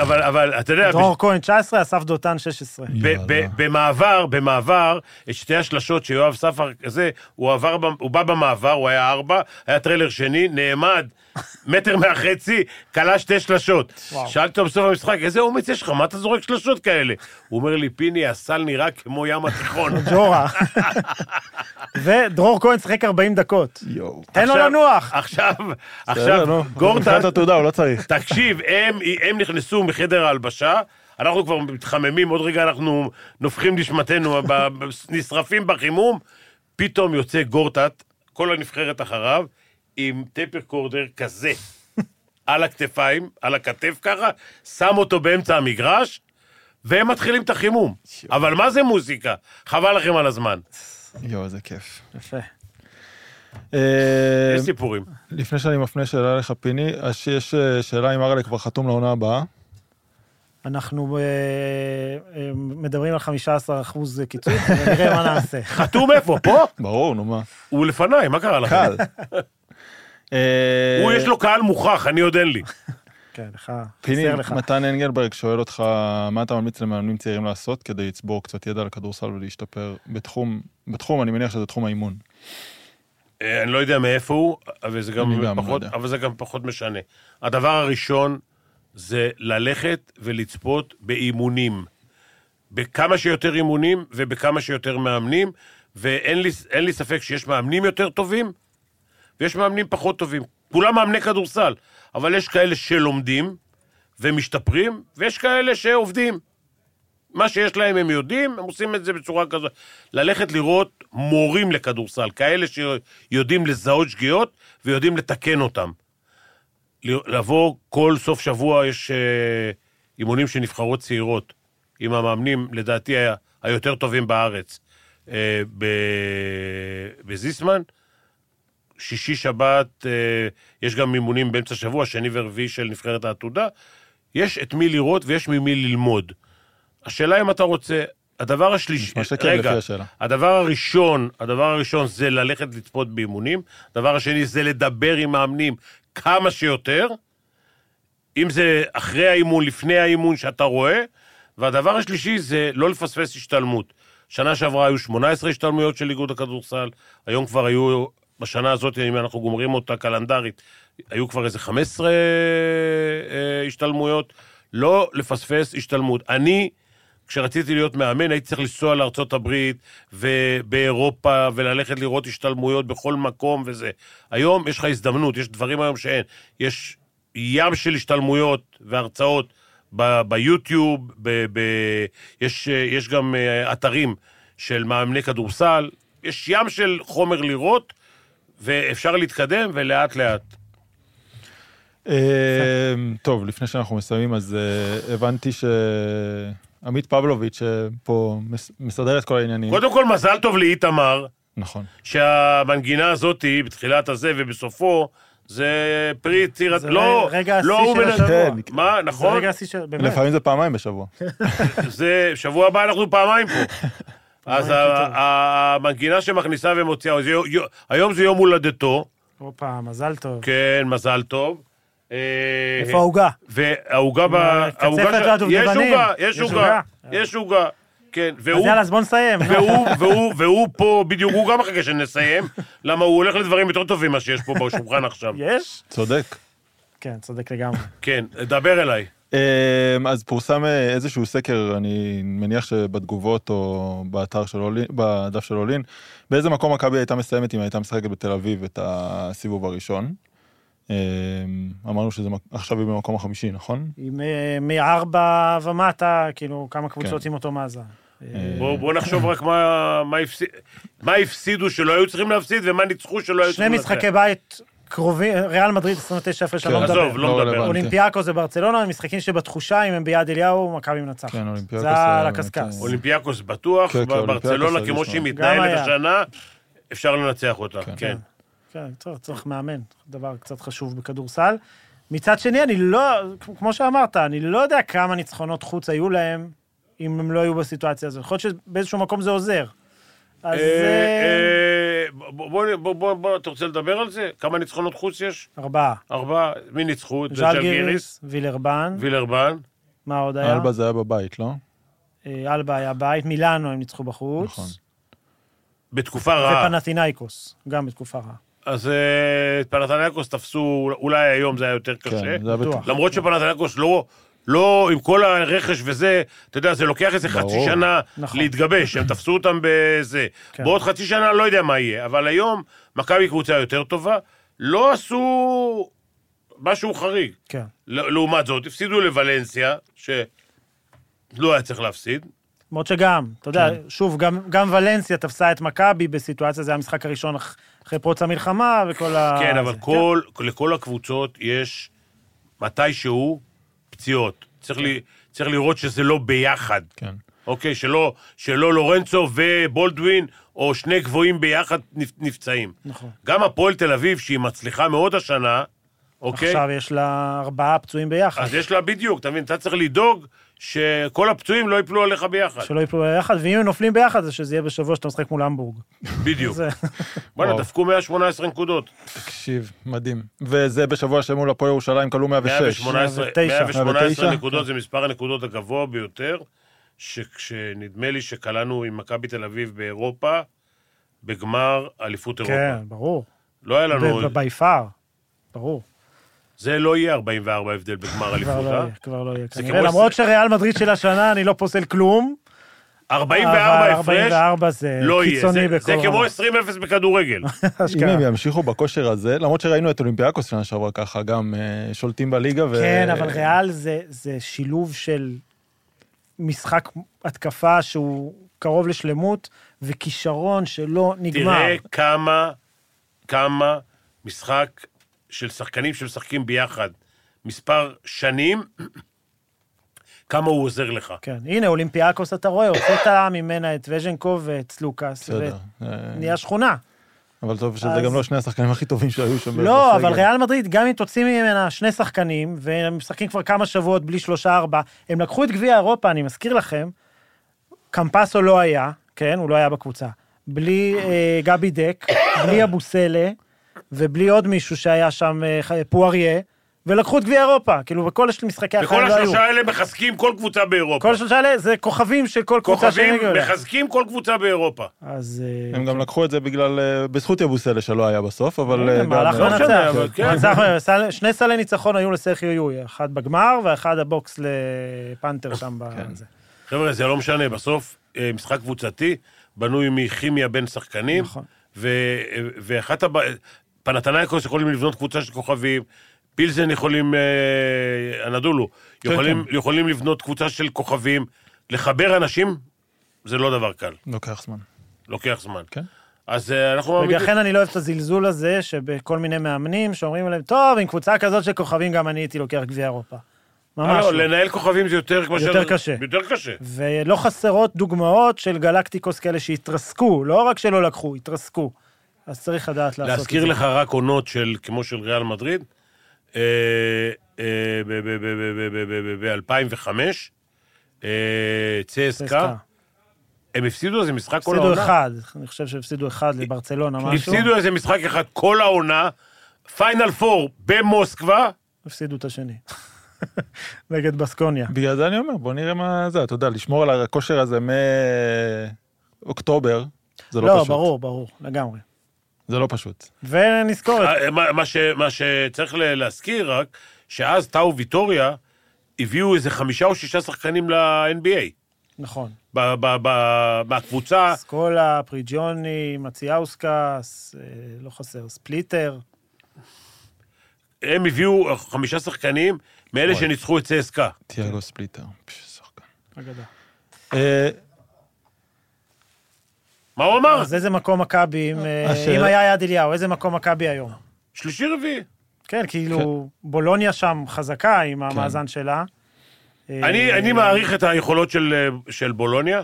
[SPEAKER 2] אבל, אבל, אתה יודע,
[SPEAKER 3] דרור כהן, 19, אסף דותן, 16.
[SPEAKER 2] ב- ב-
[SPEAKER 4] יאללה.
[SPEAKER 2] במעבר, במעבר, את שתי השלשות שיואב ספר כזה, הוא עבר, ב- הוא בא במעבר, הוא היה ארבע, היה טריילר שני, נעמד מטר מהחצי, כלה שתי שלשות.
[SPEAKER 3] וואו.
[SPEAKER 2] שאלתי אותו בסוף המשחק, איזה אומץ יש לך, מה אתה זורק שלשות כאלה? הוא אומר לי, פיני, הסל נראה כמו ים התיכון.
[SPEAKER 3] ג'ורה. ודרור כהן שיחק 40 דקות.
[SPEAKER 4] יואו.
[SPEAKER 3] תן לו
[SPEAKER 2] עכשיו-
[SPEAKER 3] לנוח.
[SPEAKER 2] עכשיו,
[SPEAKER 4] בסדר,
[SPEAKER 2] עכשיו,
[SPEAKER 4] נו.
[SPEAKER 2] גורטן,
[SPEAKER 4] מבחינת התעודה, הוא לא צריך.
[SPEAKER 2] תקשיב, הם, הם נכנסו מחדר ההלבשה, אנחנו כבר מתחממים, עוד רגע אנחנו נופחים נשמתנו, ב- נשרפים בחימום, פתאום יוצא גורטט, כל הנבחרת אחריו, עם טייפ רקורדר כזה, על הכתפיים, על הכתף ככה, שם אותו באמצע המגרש, והם מתחילים את החימום. אבל מה זה מוזיקה? חבל לכם על הזמן.
[SPEAKER 4] יואו, איזה כיף.
[SPEAKER 3] יפה.
[SPEAKER 4] אה,
[SPEAKER 2] יש סיפורים.
[SPEAKER 4] לפני שאני מפנה שאלה לך, פיני, אז יש אה, שאלה אם ארלה כבר חתום לעונה הבאה.
[SPEAKER 3] אנחנו אה, אה, מדברים על 15 אחוז קיצוץ, ונראה מה נעשה.
[SPEAKER 2] חתום איפה? פה?
[SPEAKER 4] ברור, נו מה.
[SPEAKER 2] הוא לפניי, מה קרה לכם?
[SPEAKER 4] קל. אה,
[SPEAKER 2] הוא, יש לו קהל מוכח, אני עוד אין לי.
[SPEAKER 3] כן, לך,
[SPEAKER 4] פיני,
[SPEAKER 3] חסר לך.
[SPEAKER 4] מתן אנגלברג שואל אותך, מה אתה ממליץ למאמנים צעירים לעשות כדי לצבור קצת ידע על כדורסל ולהשתפר בתחום, בתחום, אני מניח שזה תחום האימון.
[SPEAKER 2] אה, אני לא יודע מאיפה הוא, אבל זה גם,
[SPEAKER 4] אני גם לא
[SPEAKER 2] פחות,
[SPEAKER 4] יודע.
[SPEAKER 2] אבל זה גם פחות משנה. הדבר הראשון זה ללכת ולצפות באימונים. בכמה שיותר אימונים ובכמה שיותר מאמנים, ואין לי, אין לי ספק שיש מאמנים יותר טובים ויש מאמנים פחות טובים. כולם מאמני כדורסל, אבל יש כאלה שלומדים ומשתפרים, ויש כאלה שעובדים. מה שיש להם הם יודעים, הם עושים את זה בצורה כזאת. ללכת לראות מורים לכדורסל, כאלה שיודעים לזהות שגיאות ויודעים לתקן אותם. ל- לבוא כל סוף שבוע, יש אה, אימונים של נבחרות צעירות, עם המאמנים, לדעתי, ה- היותר טובים בארץ, אה, ב- בזיסמן. שישי, שבת, אה, יש גם אימונים באמצע השבוע, שני ורביעי של נבחרת העתודה. יש את מי לראות ויש ממי ללמוד. השאלה אם אתה רוצה, הדבר השלישי,
[SPEAKER 4] נשמע שכן,
[SPEAKER 2] רגע,
[SPEAKER 4] לפי השאלה.
[SPEAKER 2] הדבר הראשון, הדבר הראשון זה ללכת לצפות באימונים, הדבר השני זה לדבר עם מאמנים כמה שיותר, אם זה אחרי האימון, לפני האימון שאתה רואה, והדבר השלישי זה לא לפספס השתלמות. שנה שעברה היו 18 השתלמויות של איגוד הכדורסל, היום כבר היו, בשנה הזאת, אם אנחנו גומרים אותה קלנדרית, היו כבר איזה 15 אה, השתלמויות. לא לפספס השתלמות. אני, כשרציתי להיות מאמן, הייתי צריך לנסוע לארצות הברית ובאירופה וללכת לראות השתלמויות בכל מקום וזה. היום יש לך הזדמנות, יש דברים היום שאין. יש ים של השתלמויות והרצאות ב- ביוטיוב, ב- ב- יש, אה, יש גם אה, אתרים של מאמני כדורסל, יש ים של חומר לראות, ואפשר להתקדם ולאט-לאט.
[SPEAKER 4] אה, טוב, לפני שאנחנו מסיימים, אז אה, הבנתי שעמית פבלוביץ' אה, פה מס- מסדר את כל העניינים.
[SPEAKER 2] קודם כל, מזל טוב לאיתמר.
[SPEAKER 4] נכון.
[SPEAKER 2] שהמנגינה הזאת היא בתחילת הזה ובסופו, זה פרי יצירת...
[SPEAKER 3] זה
[SPEAKER 2] לא,
[SPEAKER 3] רגע השיא
[SPEAKER 2] לא הוא
[SPEAKER 3] של
[SPEAKER 2] מנ...
[SPEAKER 3] השבוע.
[SPEAKER 4] כן,
[SPEAKER 2] מה,
[SPEAKER 3] זה
[SPEAKER 2] נכון?
[SPEAKER 3] רגע השיא של... באמת.
[SPEAKER 4] לפעמים זה פעמיים בשבוע.
[SPEAKER 2] זה, שבוע הבא אנחנו פעמיים פה. אז ה-
[SPEAKER 3] פעמיים,
[SPEAKER 2] ה- המנגינה שמכניסה ומוציאה, זה יו- יו- היום זה יום הולדתו,
[SPEAKER 3] הופה, מזל טוב.
[SPEAKER 2] כן, מזל טוב. אה,
[SPEAKER 3] איפה העוגה?
[SPEAKER 2] והעוגה ב...
[SPEAKER 3] הקצפת
[SPEAKER 2] העוגה ש-
[SPEAKER 3] והדובדבנים.
[SPEAKER 2] יש עוגה, יש
[SPEAKER 3] יש
[SPEAKER 2] עוגה,
[SPEAKER 3] עוגה.
[SPEAKER 2] יש עוגה, כן.
[SPEAKER 3] אז
[SPEAKER 2] והוא
[SPEAKER 3] יאללה, אז בוא נסיים. נו.
[SPEAKER 2] והוא, והוא, והוא פה, בדיוק, הוא גם מחכה שנסיים, למה הוא הולך לדברים יותר טובים ממה שיש פה בשולחן עכשיו.
[SPEAKER 3] יש?
[SPEAKER 4] צודק.
[SPEAKER 3] כן, צודק לגמרי.
[SPEAKER 2] כן, דבר אליי.
[SPEAKER 4] אמ, אז פורסם אה, איזשהו סקר, אני מניח שבתגובות או באתר של אולין, בדף של אולין, באיזה מקום מכבי הייתה מסיימת אם הייתה משחקת בתל אביב את הסיבוב הראשון. אמ, אמרנו שזה מק- עכשיו היא במקום החמישי, נכון?
[SPEAKER 3] עם אה, מארבע ומטה, כאילו, כמה
[SPEAKER 2] כן.
[SPEAKER 3] קבוצות עם אותו מאזן.
[SPEAKER 2] לא
[SPEAKER 3] אה,
[SPEAKER 2] בואו בוא נחשוב רק מה, מה, הפסיד, מה הפסידו שלא היו צריכים להפסיד ומה ניצחו שלא היו
[SPEAKER 3] שני
[SPEAKER 2] צריכים
[SPEAKER 3] משחקי בית הקרובים, ריאל מדריד 29 הפרש, אני לא
[SPEAKER 4] כן.
[SPEAKER 3] מדבר.
[SPEAKER 2] עזוב, לא מדבר.
[SPEAKER 4] רלוונטי.
[SPEAKER 3] אולימפיאקו זה ברצלונה, משחקים שבתחושה, אם הם ביד אליהו, מכבי מנצחת.
[SPEAKER 4] כן, אולימפיאקוס
[SPEAKER 3] זה
[SPEAKER 4] היה
[SPEAKER 3] על
[SPEAKER 4] באמת,
[SPEAKER 3] הקשקש.
[SPEAKER 4] אה,
[SPEAKER 2] אולימפיאקוס בטוח,
[SPEAKER 4] כן, כן, אולימפיאקוס
[SPEAKER 2] ברצלונה,
[SPEAKER 4] היה
[SPEAKER 2] כמו
[SPEAKER 4] ראשון.
[SPEAKER 2] שהיא
[SPEAKER 3] גם
[SPEAKER 2] מתנהלת
[SPEAKER 3] היה.
[SPEAKER 2] השנה, אפשר לנצח אותה, כן.
[SPEAKER 3] כן, טוב, צריך מאמן, דבר קצת חשוב בכדורסל. מצד שני, אני לא, כמו שאמרת, אני לא יודע כמה ניצחונות חוץ היו להם אם הם לא היו בסיטואציה הזאת. יכול להיות שבאיזשהו מקום זה עוזר.
[SPEAKER 2] אה,
[SPEAKER 3] אז אה,
[SPEAKER 2] אה, בוא, בוא, בוא, בוא, בוא, אתה רוצה לדבר על זה? כמה ניצחונות חוץ יש?
[SPEAKER 3] ארבעה.
[SPEAKER 2] ארבעה. מי ניצחו? זה
[SPEAKER 3] ז'לגיריס, וילרבן,
[SPEAKER 2] וילרבן.
[SPEAKER 3] מה עוד היה?
[SPEAKER 4] אלבה זה היה בבית, לא?
[SPEAKER 3] אה, אלבה היה בית, מילאנו הם ניצחו בחוץ.
[SPEAKER 4] נכון.
[SPEAKER 2] בתקופה רעה.
[SPEAKER 3] ופנתינאיקוס, גם בתקופה רעה.
[SPEAKER 2] אז אה, את פנתנייקוס תפסו, אולי היום זה היה יותר קשה.
[SPEAKER 4] כן, זה היה
[SPEAKER 3] בטוח.
[SPEAKER 4] בטוח.
[SPEAKER 2] למרות שפנתנייקוס לא, לא, עם כל הרכש וזה, אתה יודע, זה לוקח איזה חצי
[SPEAKER 4] ברור.
[SPEAKER 2] שנה
[SPEAKER 3] נכון.
[SPEAKER 2] להתגבש, הם תפסו אותם בזה.
[SPEAKER 3] כן.
[SPEAKER 2] בעוד חצי שנה לא יודע מה יהיה, אבל היום מכבי קבוצה יותר טובה, לא עשו משהו חריג.
[SPEAKER 3] כן.
[SPEAKER 2] ל- לעומת זאת, הפסידו לוולנסיה, שלא היה צריך להפסיד.
[SPEAKER 3] למרות שגם, אתה יודע,
[SPEAKER 2] כן.
[SPEAKER 3] שוב, גם, גם ולנסיה תפסה את מכבי בסיטואציה, זה היה המשחק הראשון אח- אחרי פרוץ המלחמה וכל ה...
[SPEAKER 2] כן, אבל
[SPEAKER 3] אה, זה.
[SPEAKER 2] כל, לכל הקבוצות יש מתישהו פציעות. צריך,
[SPEAKER 3] כן.
[SPEAKER 2] לי, צריך לראות שזה לא ביחד.
[SPEAKER 4] כן.
[SPEAKER 2] אוקיי, שלא, שלא לורנצו ובולדווין, או שני גבוהים ביחד נפ- נפצעים.
[SPEAKER 3] נכון.
[SPEAKER 2] גם הפועל תל אביב, שהיא מצליחה מאוד השנה, אוקיי?
[SPEAKER 3] עכשיו יש לה ארבעה פצועים ביחד.
[SPEAKER 2] אז יש לה בדיוק, אתה מבין? אתה צריך לדאוג שכל הפצועים לא ייפלו עליך ביחד.
[SPEAKER 3] שלא יפלו ביחד, ואם הם נופלים ביחד, זה שזה יהיה בשבוע שאתה משחק מול המבורג.
[SPEAKER 2] בדיוק.
[SPEAKER 3] זה...
[SPEAKER 2] בואנה,
[SPEAKER 4] וואו.
[SPEAKER 2] דפקו 118 נקודות.
[SPEAKER 4] תקשיב, מדהים. וזה בשבוע שמול הפועל ירושלים כלו 106.
[SPEAKER 2] 118
[SPEAKER 3] 109.
[SPEAKER 2] 118
[SPEAKER 4] 109?
[SPEAKER 2] נקודות זה מספר הנקודות הגבוה ביותר, שנדמה לי שקלענו עם מכבי תל אביב באירופה, בגמר אליפות אירופה.
[SPEAKER 3] כן, ברור.
[SPEAKER 2] לא היה לנו...
[SPEAKER 3] ביפר, ברור.
[SPEAKER 2] זה לא יהיה 44 הבדל בגמר
[SPEAKER 3] כבר
[SPEAKER 2] אליפות,
[SPEAKER 3] לא
[SPEAKER 2] אה?
[SPEAKER 3] יהיה, כבר לא יהיה. כנראה,
[SPEAKER 2] כמו ש-
[SPEAKER 3] למרות שריאל מדריד של השנה, אני לא פוסל כלום. אבל
[SPEAKER 2] 44 הפרש
[SPEAKER 3] 44 זה
[SPEAKER 2] לא יהיה.
[SPEAKER 3] קיצוני
[SPEAKER 2] זה-
[SPEAKER 3] בכל
[SPEAKER 2] זה כמו 20-0 בכדורגל.
[SPEAKER 4] אם
[SPEAKER 3] אשכרה.
[SPEAKER 4] הם ימשיכו בכושר הזה, למרות שראינו את אולימפיאקוס שנה שעברה ככה, גם אה, שולטים בליגה ו...
[SPEAKER 3] כן, אבל ריאל זה, זה שילוב של משחק התקפה שהוא קרוב לשלמות, וכישרון שלא נגמר.
[SPEAKER 2] תראה כמה, כמה משחק של שחקנים שמשחקים ביחד מספר שנים, כמה הוא עוזר לך.
[SPEAKER 3] כן, הנה, אולימפיאקוס, אתה רואה, הוצאת ממנה את וז'נקוב ואת סלוקס,
[SPEAKER 4] בסדר. אה,
[SPEAKER 3] ונהיה שכונה.
[SPEAKER 4] אבל טוב שזה
[SPEAKER 3] אז-
[SPEAKER 4] גם לא שני השחקנים הכי טובים שהיו שם.
[SPEAKER 3] לא,
[SPEAKER 4] בסגל.
[SPEAKER 3] אבל ריאל מדריד, גם אם תוציא ממנה שני שחקנים, והם משחקים כבר כמה שבועות בלי שלושה-ארבע, הם לקחו את גביע אירופה, אני מזכיר לכם, קמפסו לא היה, כן, הוא לא היה בקבוצה. בלי אה, גבי דק, בלי אבוסלה, ובלי עוד מישהו שהיה שם, אה, ח- פואריה, ולקחו את גביע אירופה, כאילו, בכל הש- משחקי
[SPEAKER 2] וכל
[SPEAKER 3] החיים לא היו.
[SPEAKER 2] השלושה האלה מחזקים כל קבוצה באירופה.
[SPEAKER 3] כל השלושה האלה זה כוכבים של כל קבוצה
[SPEAKER 2] כוכבים
[SPEAKER 3] שהם הגיעו אליה.
[SPEAKER 2] מחזקים כל קבוצה באירופה.
[SPEAKER 3] אז... אה,
[SPEAKER 4] הם גם לקחו את זה בגלל, אה, בזכות יבוסלה שלא היה בסוף, אבל... אה,
[SPEAKER 3] הנה,
[SPEAKER 4] גם-
[SPEAKER 3] מהלך
[SPEAKER 4] לא משנה,
[SPEAKER 3] מנצח.
[SPEAKER 4] אבל-
[SPEAKER 2] כן.
[SPEAKER 3] מנצח, סל- שני סלי ניצחון היו לסרחיו יואי, אחד בגמר ואחד הבוקס לפנתר שם
[SPEAKER 4] כן.
[SPEAKER 3] בזה.
[SPEAKER 2] חבר'ה, זה לא משנה, בסוף אה, משחק קבוצתי בנוי מכימיה בין שחקנים,
[SPEAKER 3] נכון.
[SPEAKER 2] ו- ואחת הבע... פנתנייקוס יכולים לבנות קבוצה של כוכבים, פילזן יכולים, אה, הנדולו,
[SPEAKER 3] כן,
[SPEAKER 2] יכולים, יכולים לבנות קבוצה של כוכבים, לחבר אנשים זה לא דבר קל,
[SPEAKER 4] לוקח זמן.
[SPEAKER 2] לוקח זמן.
[SPEAKER 4] כן.
[SPEAKER 2] אז אה, אנחנו... מעמידים-
[SPEAKER 3] ולכן אני לא אוהב את הזלזול הזה שבכל מיני מאמנים שאומרים להם, טוב, עם קבוצה כזאת של כוכבים גם אני הייתי לוקח גביע אירופה.
[SPEAKER 2] אה,
[SPEAKER 3] ממש
[SPEAKER 2] לא,
[SPEAKER 3] לא.
[SPEAKER 2] לנהל כוכבים זה יותר... כמו
[SPEAKER 3] יותר
[SPEAKER 2] ש-
[SPEAKER 3] קשה.
[SPEAKER 2] יותר קשה.
[SPEAKER 3] ולא חסרות דוגמאות של גלקטיקוס כאלה שהתרסקו, לא רק שלא לקחו, התרסקו. אז צריך לדעת לעשות את זה.
[SPEAKER 2] להזכיר לך רק עונות של, כמו של ריאל מדריד, אה, ב-2005, אה, צסקה, הם הפסידו איזה משחק כל
[SPEAKER 3] הפסידו
[SPEAKER 2] העונה.
[SPEAKER 3] אחד, אני חושב שהפסידו אחד לברצלונה, משהו.
[SPEAKER 2] הפסידו איזה משחק אחד כל העונה, פיינל פור במוסקבה,
[SPEAKER 3] הפסידו את השני. נגד בסקוניה.
[SPEAKER 4] בגלל זה אני אומר, בוא נראה מה זה, אתה יודע, לשמור על הכושר הזה מאוקטובר, זה לא
[SPEAKER 3] לא,
[SPEAKER 4] פשוט.
[SPEAKER 3] ברור, ברור, לגמרי.
[SPEAKER 4] זה לא פשוט.
[SPEAKER 3] ונזכור את...
[SPEAKER 2] אה, מה- מה ש- מה שצריך ל- להזכיר רק, שאז טאו ויטוריה הביאו איזה חמישה או שישה שחקנים ל-NBA,
[SPEAKER 3] נכון.
[SPEAKER 2] ב- ב- ב- מהקבוצה,
[SPEAKER 3] סקולה, פריג'וני, מציאוסקס, אה, לא חסר, ספליטר.
[SPEAKER 2] הם הביאו חמישה שחקנים מאלה שניצחו את צסקה.
[SPEAKER 4] תיאגו ספליטר, פשוט שחקן.
[SPEAKER 3] אגדה.
[SPEAKER 4] אה,
[SPEAKER 2] מה הוא אמר?
[SPEAKER 3] אז איזה מקום מכבי, אם, אה,
[SPEAKER 4] אה, השאלה-
[SPEAKER 3] אם היה יד אליהו, איזה מקום מכבי היום?
[SPEAKER 2] שלישי רביעי.
[SPEAKER 3] כן, כאילו, בולוניה שם חזקה עם
[SPEAKER 4] כן.
[SPEAKER 3] המאזן שלה.
[SPEAKER 2] אני,
[SPEAKER 3] אה,
[SPEAKER 2] אני מעריך את היכולות של, של בולוניה.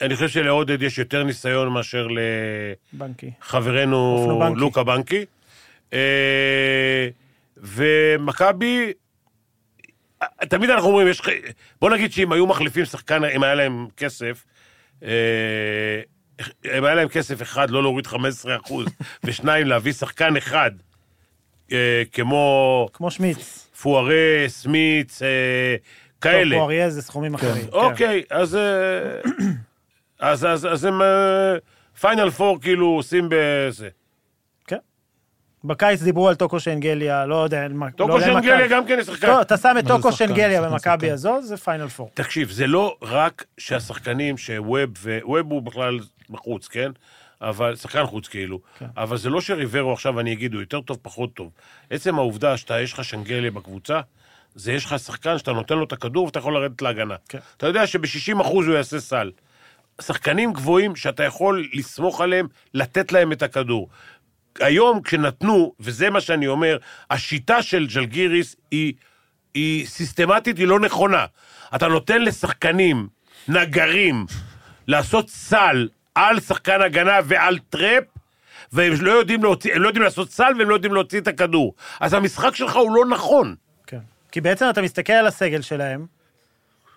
[SPEAKER 2] אני חושב שלעודד יש יותר ניסיון מאשר
[SPEAKER 3] בנקי.
[SPEAKER 2] לחברנו
[SPEAKER 3] אופנו בנקי.
[SPEAKER 2] לוקה בנקי. אה, ומכבי, אה, תמיד אנחנו אומרים, יש... ח- בוא נגיד שאם היו מחליפים שחקן, אם היה להם כסף, אה, אם היה להם כסף אחד, לא להוריד 15 אחוז, ושניים, להביא שחקן אחד, אה, כמו
[SPEAKER 3] כמו שמיץ.
[SPEAKER 2] פוארה, סמיץ, אה,
[SPEAKER 3] כאלה.
[SPEAKER 2] כאלה.
[SPEAKER 3] פה אריה זה סכומים אחרים. לא, כן.
[SPEAKER 2] אוקיי, אז... אה, אז, אז, אז הם פיינל פור כאילו עושים בזה.
[SPEAKER 3] כן. בקיץ דיברו על טוקו שאנגליה, לא יודע, מה- לא
[SPEAKER 2] טוקו
[SPEAKER 3] יודע אם
[SPEAKER 2] שאנגליה
[SPEAKER 3] מכבי.
[SPEAKER 2] גם כן ישחקן.
[SPEAKER 3] לא, אתה שם את
[SPEAKER 4] זה
[SPEAKER 3] טוקו
[SPEAKER 4] שחקן,
[SPEAKER 3] שאנגליה
[SPEAKER 4] שחקן,
[SPEAKER 3] במכבי
[SPEAKER 4] שחקן.
[SPEAKER 3] הזו, זה פיינל פור.
[SPEAKER 2] תקשיב, זה לא רק שהשחקנים שווב, ו... ווב הוא בכלל בחוץ, כן? אבל, שחקן חוץ כאילו. כן. אבל זה לא שריברו עכשיו, אני אגיד, הוא יותר טוב, פחות טוב. עצם העובדה שאתה, יש לך שנגליה בקבוצה, זה יש לך שחקן שאתה נותן לו את הכדור ואתה יכול לרדת להגנה.
[SPEAKER 3] כן.
[SPEAKER 2] אתה יודע שב-60% הוא יעשה סל. שחקנים גבוהים שאתה יכול לסמוך עליהם, לתת להם את הכדור. היום כשנתנו, וזה מה שאני אומר, השיטה של ג'לגיריס היא, היא סיסטמטית, היא לא נכונה. אתה נותן לשחקנים, נגרים, לעשות סל על שחקן הגנה ועל טראפ, והם לא יודעים, להוציא, הם לא יודעים לעשות סל והם לא יודעים להוציא את הכדור. אז המשחק שלך הוא לא נכון.
[SPEAKER 3] כן. כי בעצם אתה מסתכל על הסגל שלהם,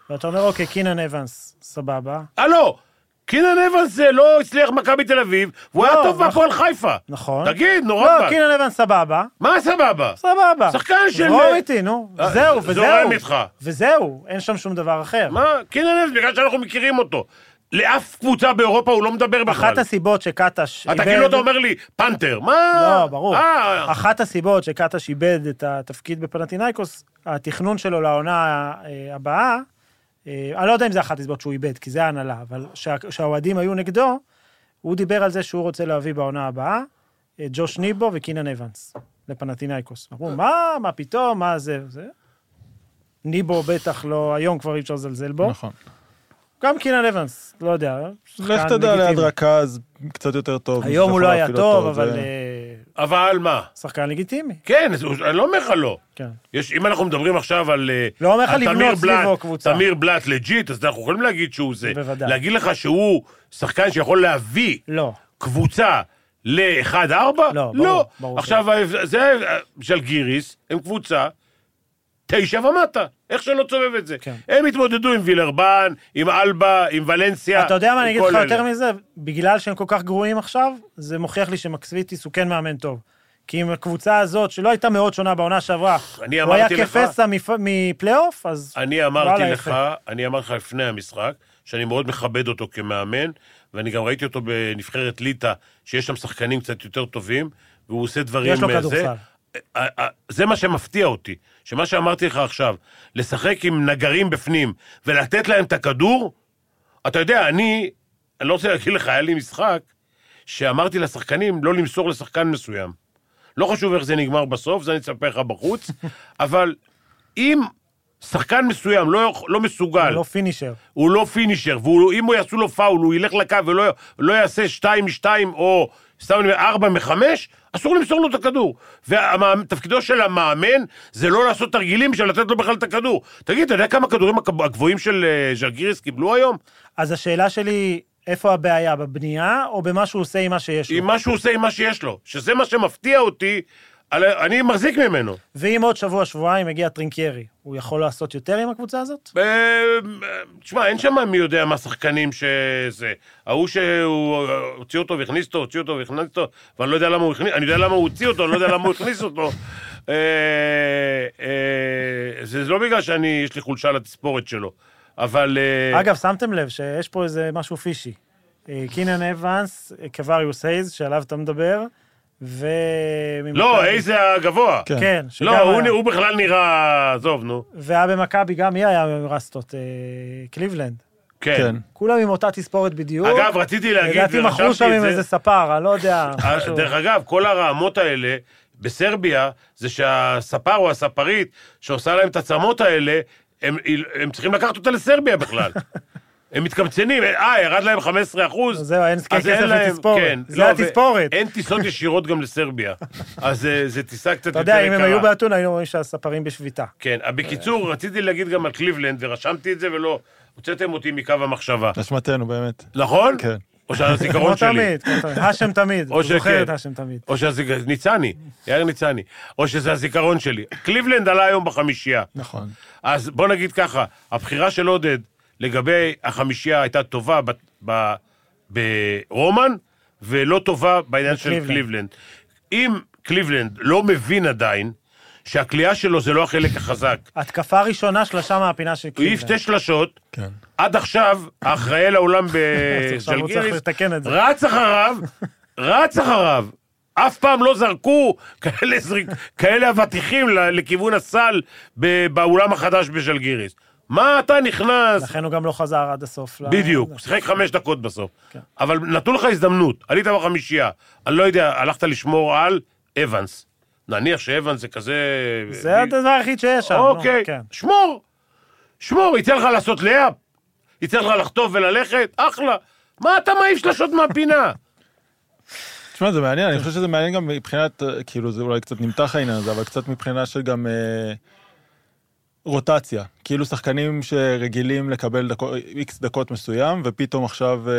[SPEAKER 3] ואתה אומר, אוקיי, קינן אבנס, סבבה,
[SPEAKER 2] הלו, אה, לא. קינן אבנס זה לא הצליח במכבי תל אביב, והוא היה
[SPEAKER 3] לא,
[SPEAKER 2] טוב
[SPEAKER 3] נכון.
[SPEAKER 2] בהפועל חיפה.
[SPEAKER 3] נכון.
[SPEAKER 2] תגיד, נורא
[SPEAKER 3] לא,
[SPEAKER 2] פאק.
[SPEAKER 3] קינן אבנס סבבה,
[SPEAKER 2] מה סבבה?
[SPEAKER 3] סבבה.
[SPEAKER 2] שחקן של-
[SPEAKER 3] זרום איתי, נו.
[SPEAKER 2] אה, זורם
[SPEAKER 3] זהו, וזהו.
[SPEAKER 2] איתך.
[SPEAKER 3] וזהו, אין שם שום דבר אחר.
[SPEAKER 2] מה? כן, קינן אבנס, בגלל שאנחנו מכירים אותו. לאף קבוצה באירופה הוא לא מדבר בכלל.
[SPEAKER 3] אחת הסיבות שקטש
[SPEAKER 2] אתה כאילו אתה אומר לי, פנתר, מה?
[SPEAKER 3] לא, ברור.
[SPEAKER 2] אה,
[SPEAKER 3] אחת הסיבות שקטש איבד את התפקיד בפנטינאיקוס, התכנון שלו לעונה אה, הבאה, אה, אני לא יודע אם זה אחת הסיבות שהוא איבד, כי זה ההנהלה, אבל שה- שהאוהדים היו נגדו, הוא דיבר על זה שהוא רוצה להביא בעונה הבאה את ג'וש ניבו וקינן אבנס לפנטינאיקוס. אמרו, מה, מה פתאום, מה זה, זה. ניבו בטח לא, היום כבר אי אפשר לזלזל בו.
[SPEAKER 4] נכון.
[SPEAKER 3] גם קינן אבנס, לא יודע.
[SPEAKER 4] לך
[SPEAKER 3] שחקן
[SPEAKER 4] תדע ליד
[SPEAKER 3] לגיטימי.
[SPEAKER 4] רכז, קצת יותר טוב.
[SPEAKER 3] היום הוא
[SPEAKER 4] יכול
[SPEAKER 3] לא היה
[SPEAKER 4] להפעיל
[SPEAKER 3] טוב,
[SPEAKER 4] אותו,
[SPEAKER 3] אבל
[SPEAKER 4] זה-
[SPEAKER 3] אה,
[SPEAKER 2] אבל מה?
[SPEAKER 3] שחקן לגיטימי,
[SPEAKER 2] כן, זה- אני לא אומר לך לא.
[SPEAKER 3] כן.
[SPEAKER 2] יש, אם אנחנו מדברים עכשיו על... אה,
[SPEAKER 3] לא אומר לך
[SPEAKER 2] על
[SPEAKER 3] לבנות
[SPEAKER 2] תמיר
[SPEAKER 3] סביבו
[SPEAKER 2] בלאט-
[SPEAKER 3] קבוצה.
[SPEAKER 2] תמיר בלאט לג'יט, אז אנחנו יכולים להגיד שהוא זה.
[SPEAKER 3] בוודאי.
[SPEAKER 2] להגיד לך שהוא שחקן שיכול להביא
[SPEAKER 3] לא.
[SPEAKER 2] קבוצה ל-1-4?
[SPEAKER 3] לא, ברור, ברור
[SPEAKER 2] עכשיו, ההבד- זה ז'לגיריס, הם קבוצה תשע ומטה, איך שלא תסובב את זה.
[SPEAKER 3] כן.
[SPEAKER 2] הם התמודדו עם וילרבן, עם אלבה, עם ולנסיה.
[SPEAKER 3] אתה יודע מה,
[SPEAKER 2] עם
[SPEAKER 3] אני אגיד
[SPEAKER 2] אה, כל
[SPEAKER 3] לך
[SPEAKER 2] אלה.
[SPEAKER 3] יותר מזה, בגלל שהם כל כך גרועים עכשיו, זה מוכיח לי שמקסוויטיס הוא כן מאמן טוב. כי עם הקבוצה הזאת, שלא הייתה מאוד שונה בעונה שעברה,
[SPEAKER 2] אני
[SPEAKER 3] הוא היה
[SPEAKER 2] אמרתי לך-
[SPEAKER 3] כפסע מפ- מפלייאוף, אז
[SPEAKER 2] אני אמרתי
[SPEAKER 3] וואלה,
[SPEAKER 2] לך, אני אמרתי לך לפני המשחק, שאני מאוד מכבד אותו כמאמן, ואני גם ראיתי אותו בנבחרת ליטא, שיש שם שחקנים קצת יותר טובים, והוא עושה דברים...
[SPEAKER 3] יש לו
[SPEAKER 2] אה,
[SPEAKER 3] כדורסל.
[SPEAKER 2] זה. אה, אה, זה מה שמפתיע אותי, שמה שאמרתי לך עכשיו, לשחק עם נגרים בפנים ולתת להם את הכדור, אתה יודע, אני, אני לא רוצה להגיד לך, היה לי משחק שאמרתי לשחקנים לא למסור לשחקן מסוים. לא חשוב איך זה נגמר בסוף, זה אני אספר לך בחוץ, אבל אם שחקן מסוים לא, יכול- לא מסוגל,
[SPEAKER 3] לא פינישר.
[SPEAKER 2] הוא לא פינישר, ואם הוא יעשו לו פאול, הוא ילך לקו ולא לא יעשה 2 מ-2 או סתם אני אומר 4 מ-5, אסור למסור לו את הכדור. ותפקידו של המאמן זה לא לעשות תרגילים בשביל לתת לו בכלל את הכדור. תגיד, אתה יודע כמה כדורים הכב- הגבוהים של אה, ז'לגיריס קיבלו היום?
[SPEAKER 3] אז השאלה שלי, איפה הבעיה, בבנייה, או במה שהוא עושה עם מה שיש לו?
[SPEAKER 2] עם מה שהוא עושה עם מה שיש לו, שזה מה שמפתיע אותי, על ה- אני מחזיק ממנו.
[SPEAKER 3] ואם עוד שבוע, שבועיים מגיע טרינקיירי, הוא יכול לעשות יותר עם הקבוצה הזאת?
[SPEAKER 2] אה, אה, תשמע, אין שם מי יודע מה שחקנים שזה. ההוא שהוא אה, הוציא אותו והכניס אותו, הוציא אותו והכניס אותו, ואני לא יודע למה הוא הכניס, אני יודע למה הוא הוציא אותו, אני לא יודע למה הוא הכניס אותו. אה, אה, זה לא בגלל שאני, יש לי חולשה לתספורת שלו, אבל... אה,
[SPEAKER 3] אגב, שמתם לב שיש פה איזה משהו פישי. אה, קינן אבנס, אה, קווריוס הייז, שעליו אתה מדבר, ו...
[SPEAKER 2] לא, איזה הגבוה.
[SPEAKER 4] כן.
[SPEAKER 3] כן, שגם
[SPEAKER 2] לא, הוא
[SPEAKER 3] היה.
[SPEAKER 2] נ- הוא בכלל נראה... עזוב, נו.
[SPEAKER 3] והיה במכבי, גם היא היה מרסטות, אה, קליבלנד.
[SPEAKER 2] כן.
[SPEAKER 4] כן.
[SPEAKER 3] כולם עם אותה תספורת בדיוק. אה,
[SPEAKER 2] אגב, רציתי להגיד,
[SPEAKER 3] לדעתי מכרו
[SPEAKER 2] ורשמתי
[SPEAKER 3] שם
[SPEAKER 2] את
[SPEAKER 3] עם
[SPEAKER 2] זה-
[SPEAKER 3] איזה ספר, אני לא יודע.
[SPEAKER 2] אה,
[SPEAKER 3] משהו.
[SPEAKER 2] דרך אגב, כל הרעמות האלה בסרביה, זה שהספר או הספרית שעושה להם את הצמות האלה, הם, הם צריכים לקחת אותה לסרביה בכלל. הם מתקמצנים, אה, ירד להם 15 אחוז,
[SPEAKER 3] לא, זהו, אין כסף לתספורת. זה התספורת.
[SPEAKER 2] אין כן, לא, טיסות ישירות גם לסרביה. אז אה, זה טיסה קצת יותר
[SPEAKER 3] אתה
[SPEAKER 2] יקרה.
[SPEAKER 3] יודע, אם הם היו באתונה, היינו רואים שהספרים בשביתה.
[SPEAKER 2] כן, אה, בקיצור, רציתי להגיד גם על קליבלנד, ורשמתי את זה ולא... הוצאתם אותי מקו המחשבה.
[SPEAKER 4] אשמתנו, באמת.
[SPEAKER 2] נכון?
[SPEAKER 4] כן.
[SPEAKER 2] או
[SPEAKER 3] כמו
[SPEAKER 2] שהזיכרון שלי.
[SPEAKER 3] תמיד, כמו תמיד. האשם תמיד.
[SPEAKER 2] או
[SPEAKER 3] אתה זוכר
[SPEAKER 2] שכן.
[SPEAKER 3] את האשם תמיד.
[SPEAKER 2] או שהזיכרון... ניצני, יאיר ניצני. או שזה הזיכרון שלי. קליבלנד עלה היום בחמישייה.
[SPEAKER 4] נכון.
[SPEAKER 2] אז בוא נגיד ככה, הבחירה של עודד לגבי החמישייה הייתה טובה ב- ב- ברומן, ולא טובה בעניין של
[SPEAKER 3] בקליבלנד.
[SPEAKER 2] קליבלנד. אם קליבלנד לא מבין עדיין שהכלייה שלו זה לא החלק החזק,
[SPEAKER 3] התקפה ראשונה שלשה מהפינה של
[SPEAKER 2] הוא
[SPEAKER 3] קליבלנד.
[SPEAKER 2] העיף שתי שלשות,
[SPEAKER 4] כן.
[SPEAKER 2] עד עכשיו, האחראי לאולם
[SPEAKER 3] עכשיו הוא
[SPEAKER 2] בז'לגיריס,
[SPEAKER 3] צריך לתקן את זה.
[SPEAKER 2] רץ אחריו, רץ אחריו. אף פעם לא זרקו כאלה, זריק, כאלה אבטיחים ל- לכיוון הסל ב- באולם החדש בז'לגיריס. מה אתה נכנס?
[SPEAKER 3] לכן הוא גם לא חזר עד הסוף. ל-
[SPEAKER 2] בדיוק, שיחק חמש דקות בסוף.
[SPEAKER 3] כן.
[SPEAKER 2] אבל נתנו לך הזדמנות, עלית בחמישייה. אני לא יודע, הלכת לשמור על אבנס. נניח שאבנס זה כזה...
[SPEAKER 3] זה הדבר היחיד שיש שם. נו,
[SPEAKER 2] אוקיי,
[SPEAKER 3] כן.
[SPEAKER 2] שמור, שמור, יצא לך לעשות לאפ, יצא לך לחטוף וללכת, אחלה. מה אתה מעיף שלשות מהפינה?
[SPEAKER 4] תשמע, זה מעניין, אני חושב שזה מעניין גם מבחינת, אה, כאילו, זה אולי קצת נמתח העניין הזה, אבל קצת מבחינה של גם אה, רוטציה. כאילו, שחקנים שרגילים לקבל דקו- איקס דקות מסוים, ופתאום עכשיו אה,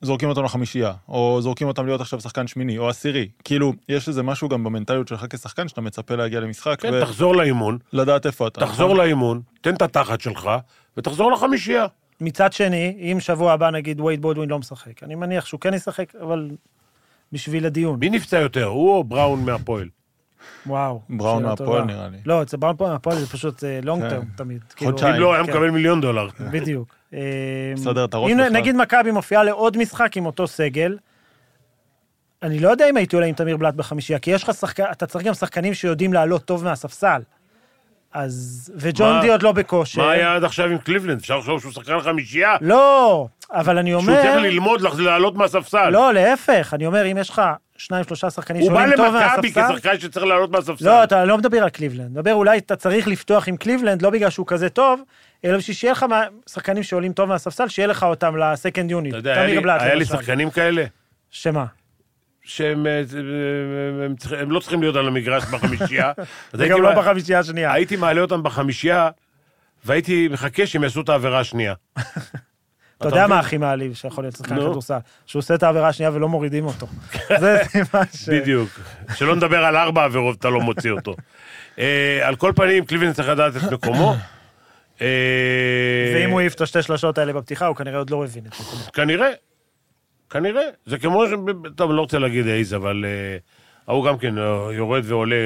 [SPEAKER 4] זורקים אותם לחמישייה, או זורקים אותם להיות עכשיו שחקן שמיני, או עשירי. כאילו, יש איזה משהו גם במנטליות שלך כשחקן, שאתה מצפה להגיע למשחק,
[SPEAKER 2] כן, תחזור לאימון,
[SPEAKER 4] ולדעת איפה אתה. נכון?
[SPEAKER 2] תחזור
[SPEAKER 3] נכון.
[SPEAKER 2] לאימון, תן את התחת שלך, ותחזור לחמישייה.
[SPEAKER 3] מצד שני, אם שבוע הבא נגיד וייד בולדווין לא משחק, אני מניח שהוא כן ישחק, אבל בשביל הדיון.
[SPEAKER 2] מי נפצע יותר, הוא או בראון מהפועל?
[SPEAKER 3] וואו.
[SPEAKER 4] בראון
[SPEAKER 3] שאלה
[SPEAKER 4] מהפועל,
[SPEAKER 3] טובה.
[SPEAKER 4] נראה לי. כן.
[SPEAKER 3] לא, אצל בראון פה- מהפועל זה פשוט לונג טרם תמיד. כאילו,
[SPEAKER 4] חודשיים.
[SPEAKER 2] אם לא, היה
[SPEAKER 3] כן,
[SPEAKER 2] מקבל מיליון דולר.
[SPEAKER 3] בדיוק. אה,
[SPEAKER 4] מסדר את הראש
[SPEAKER 3] הנה,
[SPEAKER 4] בכלל.
[SPEAKER 3] נגיד מכבי מופיעה לעוד משחק עם אותו סגל, אני לא יודע אם הייתי עולה עם תמיר בלאט בחמישייה, כי יש לך שחקן, אתה צריך גם שחקנים שיודעים לעלות טוב מהספסל. אז,
[SPEAKER 2] מה-
[SPEAKER 3] וג'ון די עוד לא בכושר.
[SPEAKER 2] מה היה עד עכשיו עם קליבלנד? אפשר לחשוב שהוא שחקן חמישייה?
[SPEAKER 3] לא, אבל אני אומר...
[SPEAKER 2] שהוא צריך ללמוד לח- לעלות מהספסל.
[SPEAKER 3] לא, להפך, אני אומר, אם יש לך שניים, שלושה שחקנים
[SPEAKER 2] הוא בא
[SPEAKER 3] שעולים טוב
[SPEAKER 2] למכבי
[SPEAKER 3] מהספסל...
[SPEAKER 2] כשחקן שצריך לעלות מהספסל.
[SPEAKER 3] לא, אתה לא מדבר על קליבלנד. מדבר אולי אתה צריך לפתוח עם קליבלנד, לא בגלל שהוא כזה טוב, אלא בשביל שיהיה לך מה- שחקנים שעולים טוב מהספסל, שיהיה לך אותם לסקנד יוניט.
[SPEAKER 2] אתה יודע, היה לי- היה לי שחקנים כאלה.
[SPEAKER 3] שמה?
[SPEAKER 2] שהם אה, אה, הם צריכים- הם לא צריכים להיות על המגרש בחמישייה. אז
[SPEAKER 3] זה
[SPEAKER 2] הייתי
[SPEAKER 3] גם לא
[SPEAKER 2] מע-
[SPEAKER 3] בחמישייה השנייה.
[SPEAKER 2] הייתי מעלה אותם בחמישייה, והייתי מחכה שהם יעשו את העבירה השנייה.
[SPEAKER 3] אתה יודע מה הכי מעליב שיכול להיות שחקן
[SPEAKER 2] נו.
[SPEAKER 3] כדורסל? שהוא עושה את העבירה השנייה ולא מורידים אותו. זה סימן ש...
[SPEAKER 2] בדיוק. שלא נדבר על ארבע עבירות, אתה לא מוציא אותו. אה, על כל פנים, קליבלין צריך לדעת את מקומו. אה,
[SPEAKER 3] ואם הוא העיף את השתי שלשות האלה בפתיחה, הוא כנראה עוד לא הבין את זה.
[SPEAKER 2] כנראה, כנראה. זה כמו ש... טוב, אני לא רוצה להגיד אייז, אבל אה, ההוא גם כן אה, יורד ועולה.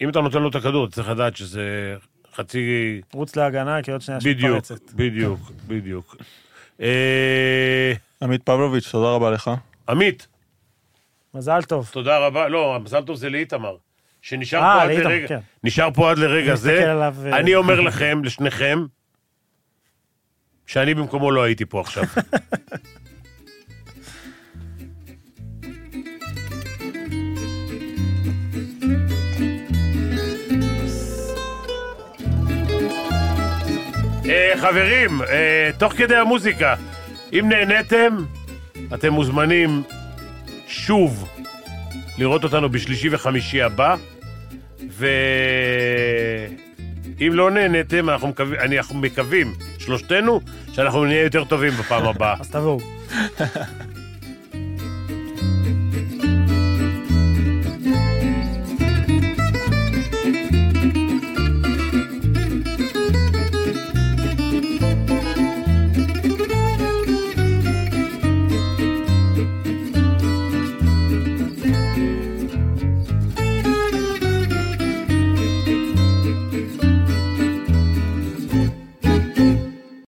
[SPEAKER 2] אם אתה נותן לו את הכדור, אתה צריך לדעת שזה חצי...
[SPEAKER 3] רוץ להגנה, כי עוד שנייה יש
[SPEAKER 2] בדיוק,
[SPEAKER 3] מתפרצת.
[SPEAKER 2] בדיוק, בדיוק. אה,
[SPEAKER 4] עמית פבלוביץ', תודה רבה לך.
[SPEAKER 2] עמית,
[SPEAKER 3] מזל טוב.
[SPEAKER 2] תודה רבה. לא, מזל טוב זה לאיתמר, שנשאר
[SPEAKER 3] אה,
[SPEAKER 2] פה עד
[SPEAKER 3] לאיתמר,
[SPEAKER 2] לרגע.
[SPEAKER 3] כן.
[SPEAKER 2] נשאר פה עד לרגע
[SPEAKER 3] אני מסתכל
[SPEAKER 2] זה.
[SPEAKER 3] עליו, אה,
[SPEAKER 2] אני אומר לכם, לשניכם, שאני במקומו לא הייתי פה עכשיו. אה, חברים, אה, תוך כדי המוזיקה, אם נהניתם, אתם מוזמנים שוב לראות אותנו בשלישי וחמישי הבא, ואם לא נהניתם, אנחנו מקווים, אני- אנחנו מקווים, שלושתנו, שאנחנו נהיה יותר טובים בפעם הבאה.
[SPEAKER 3] אז תבואו.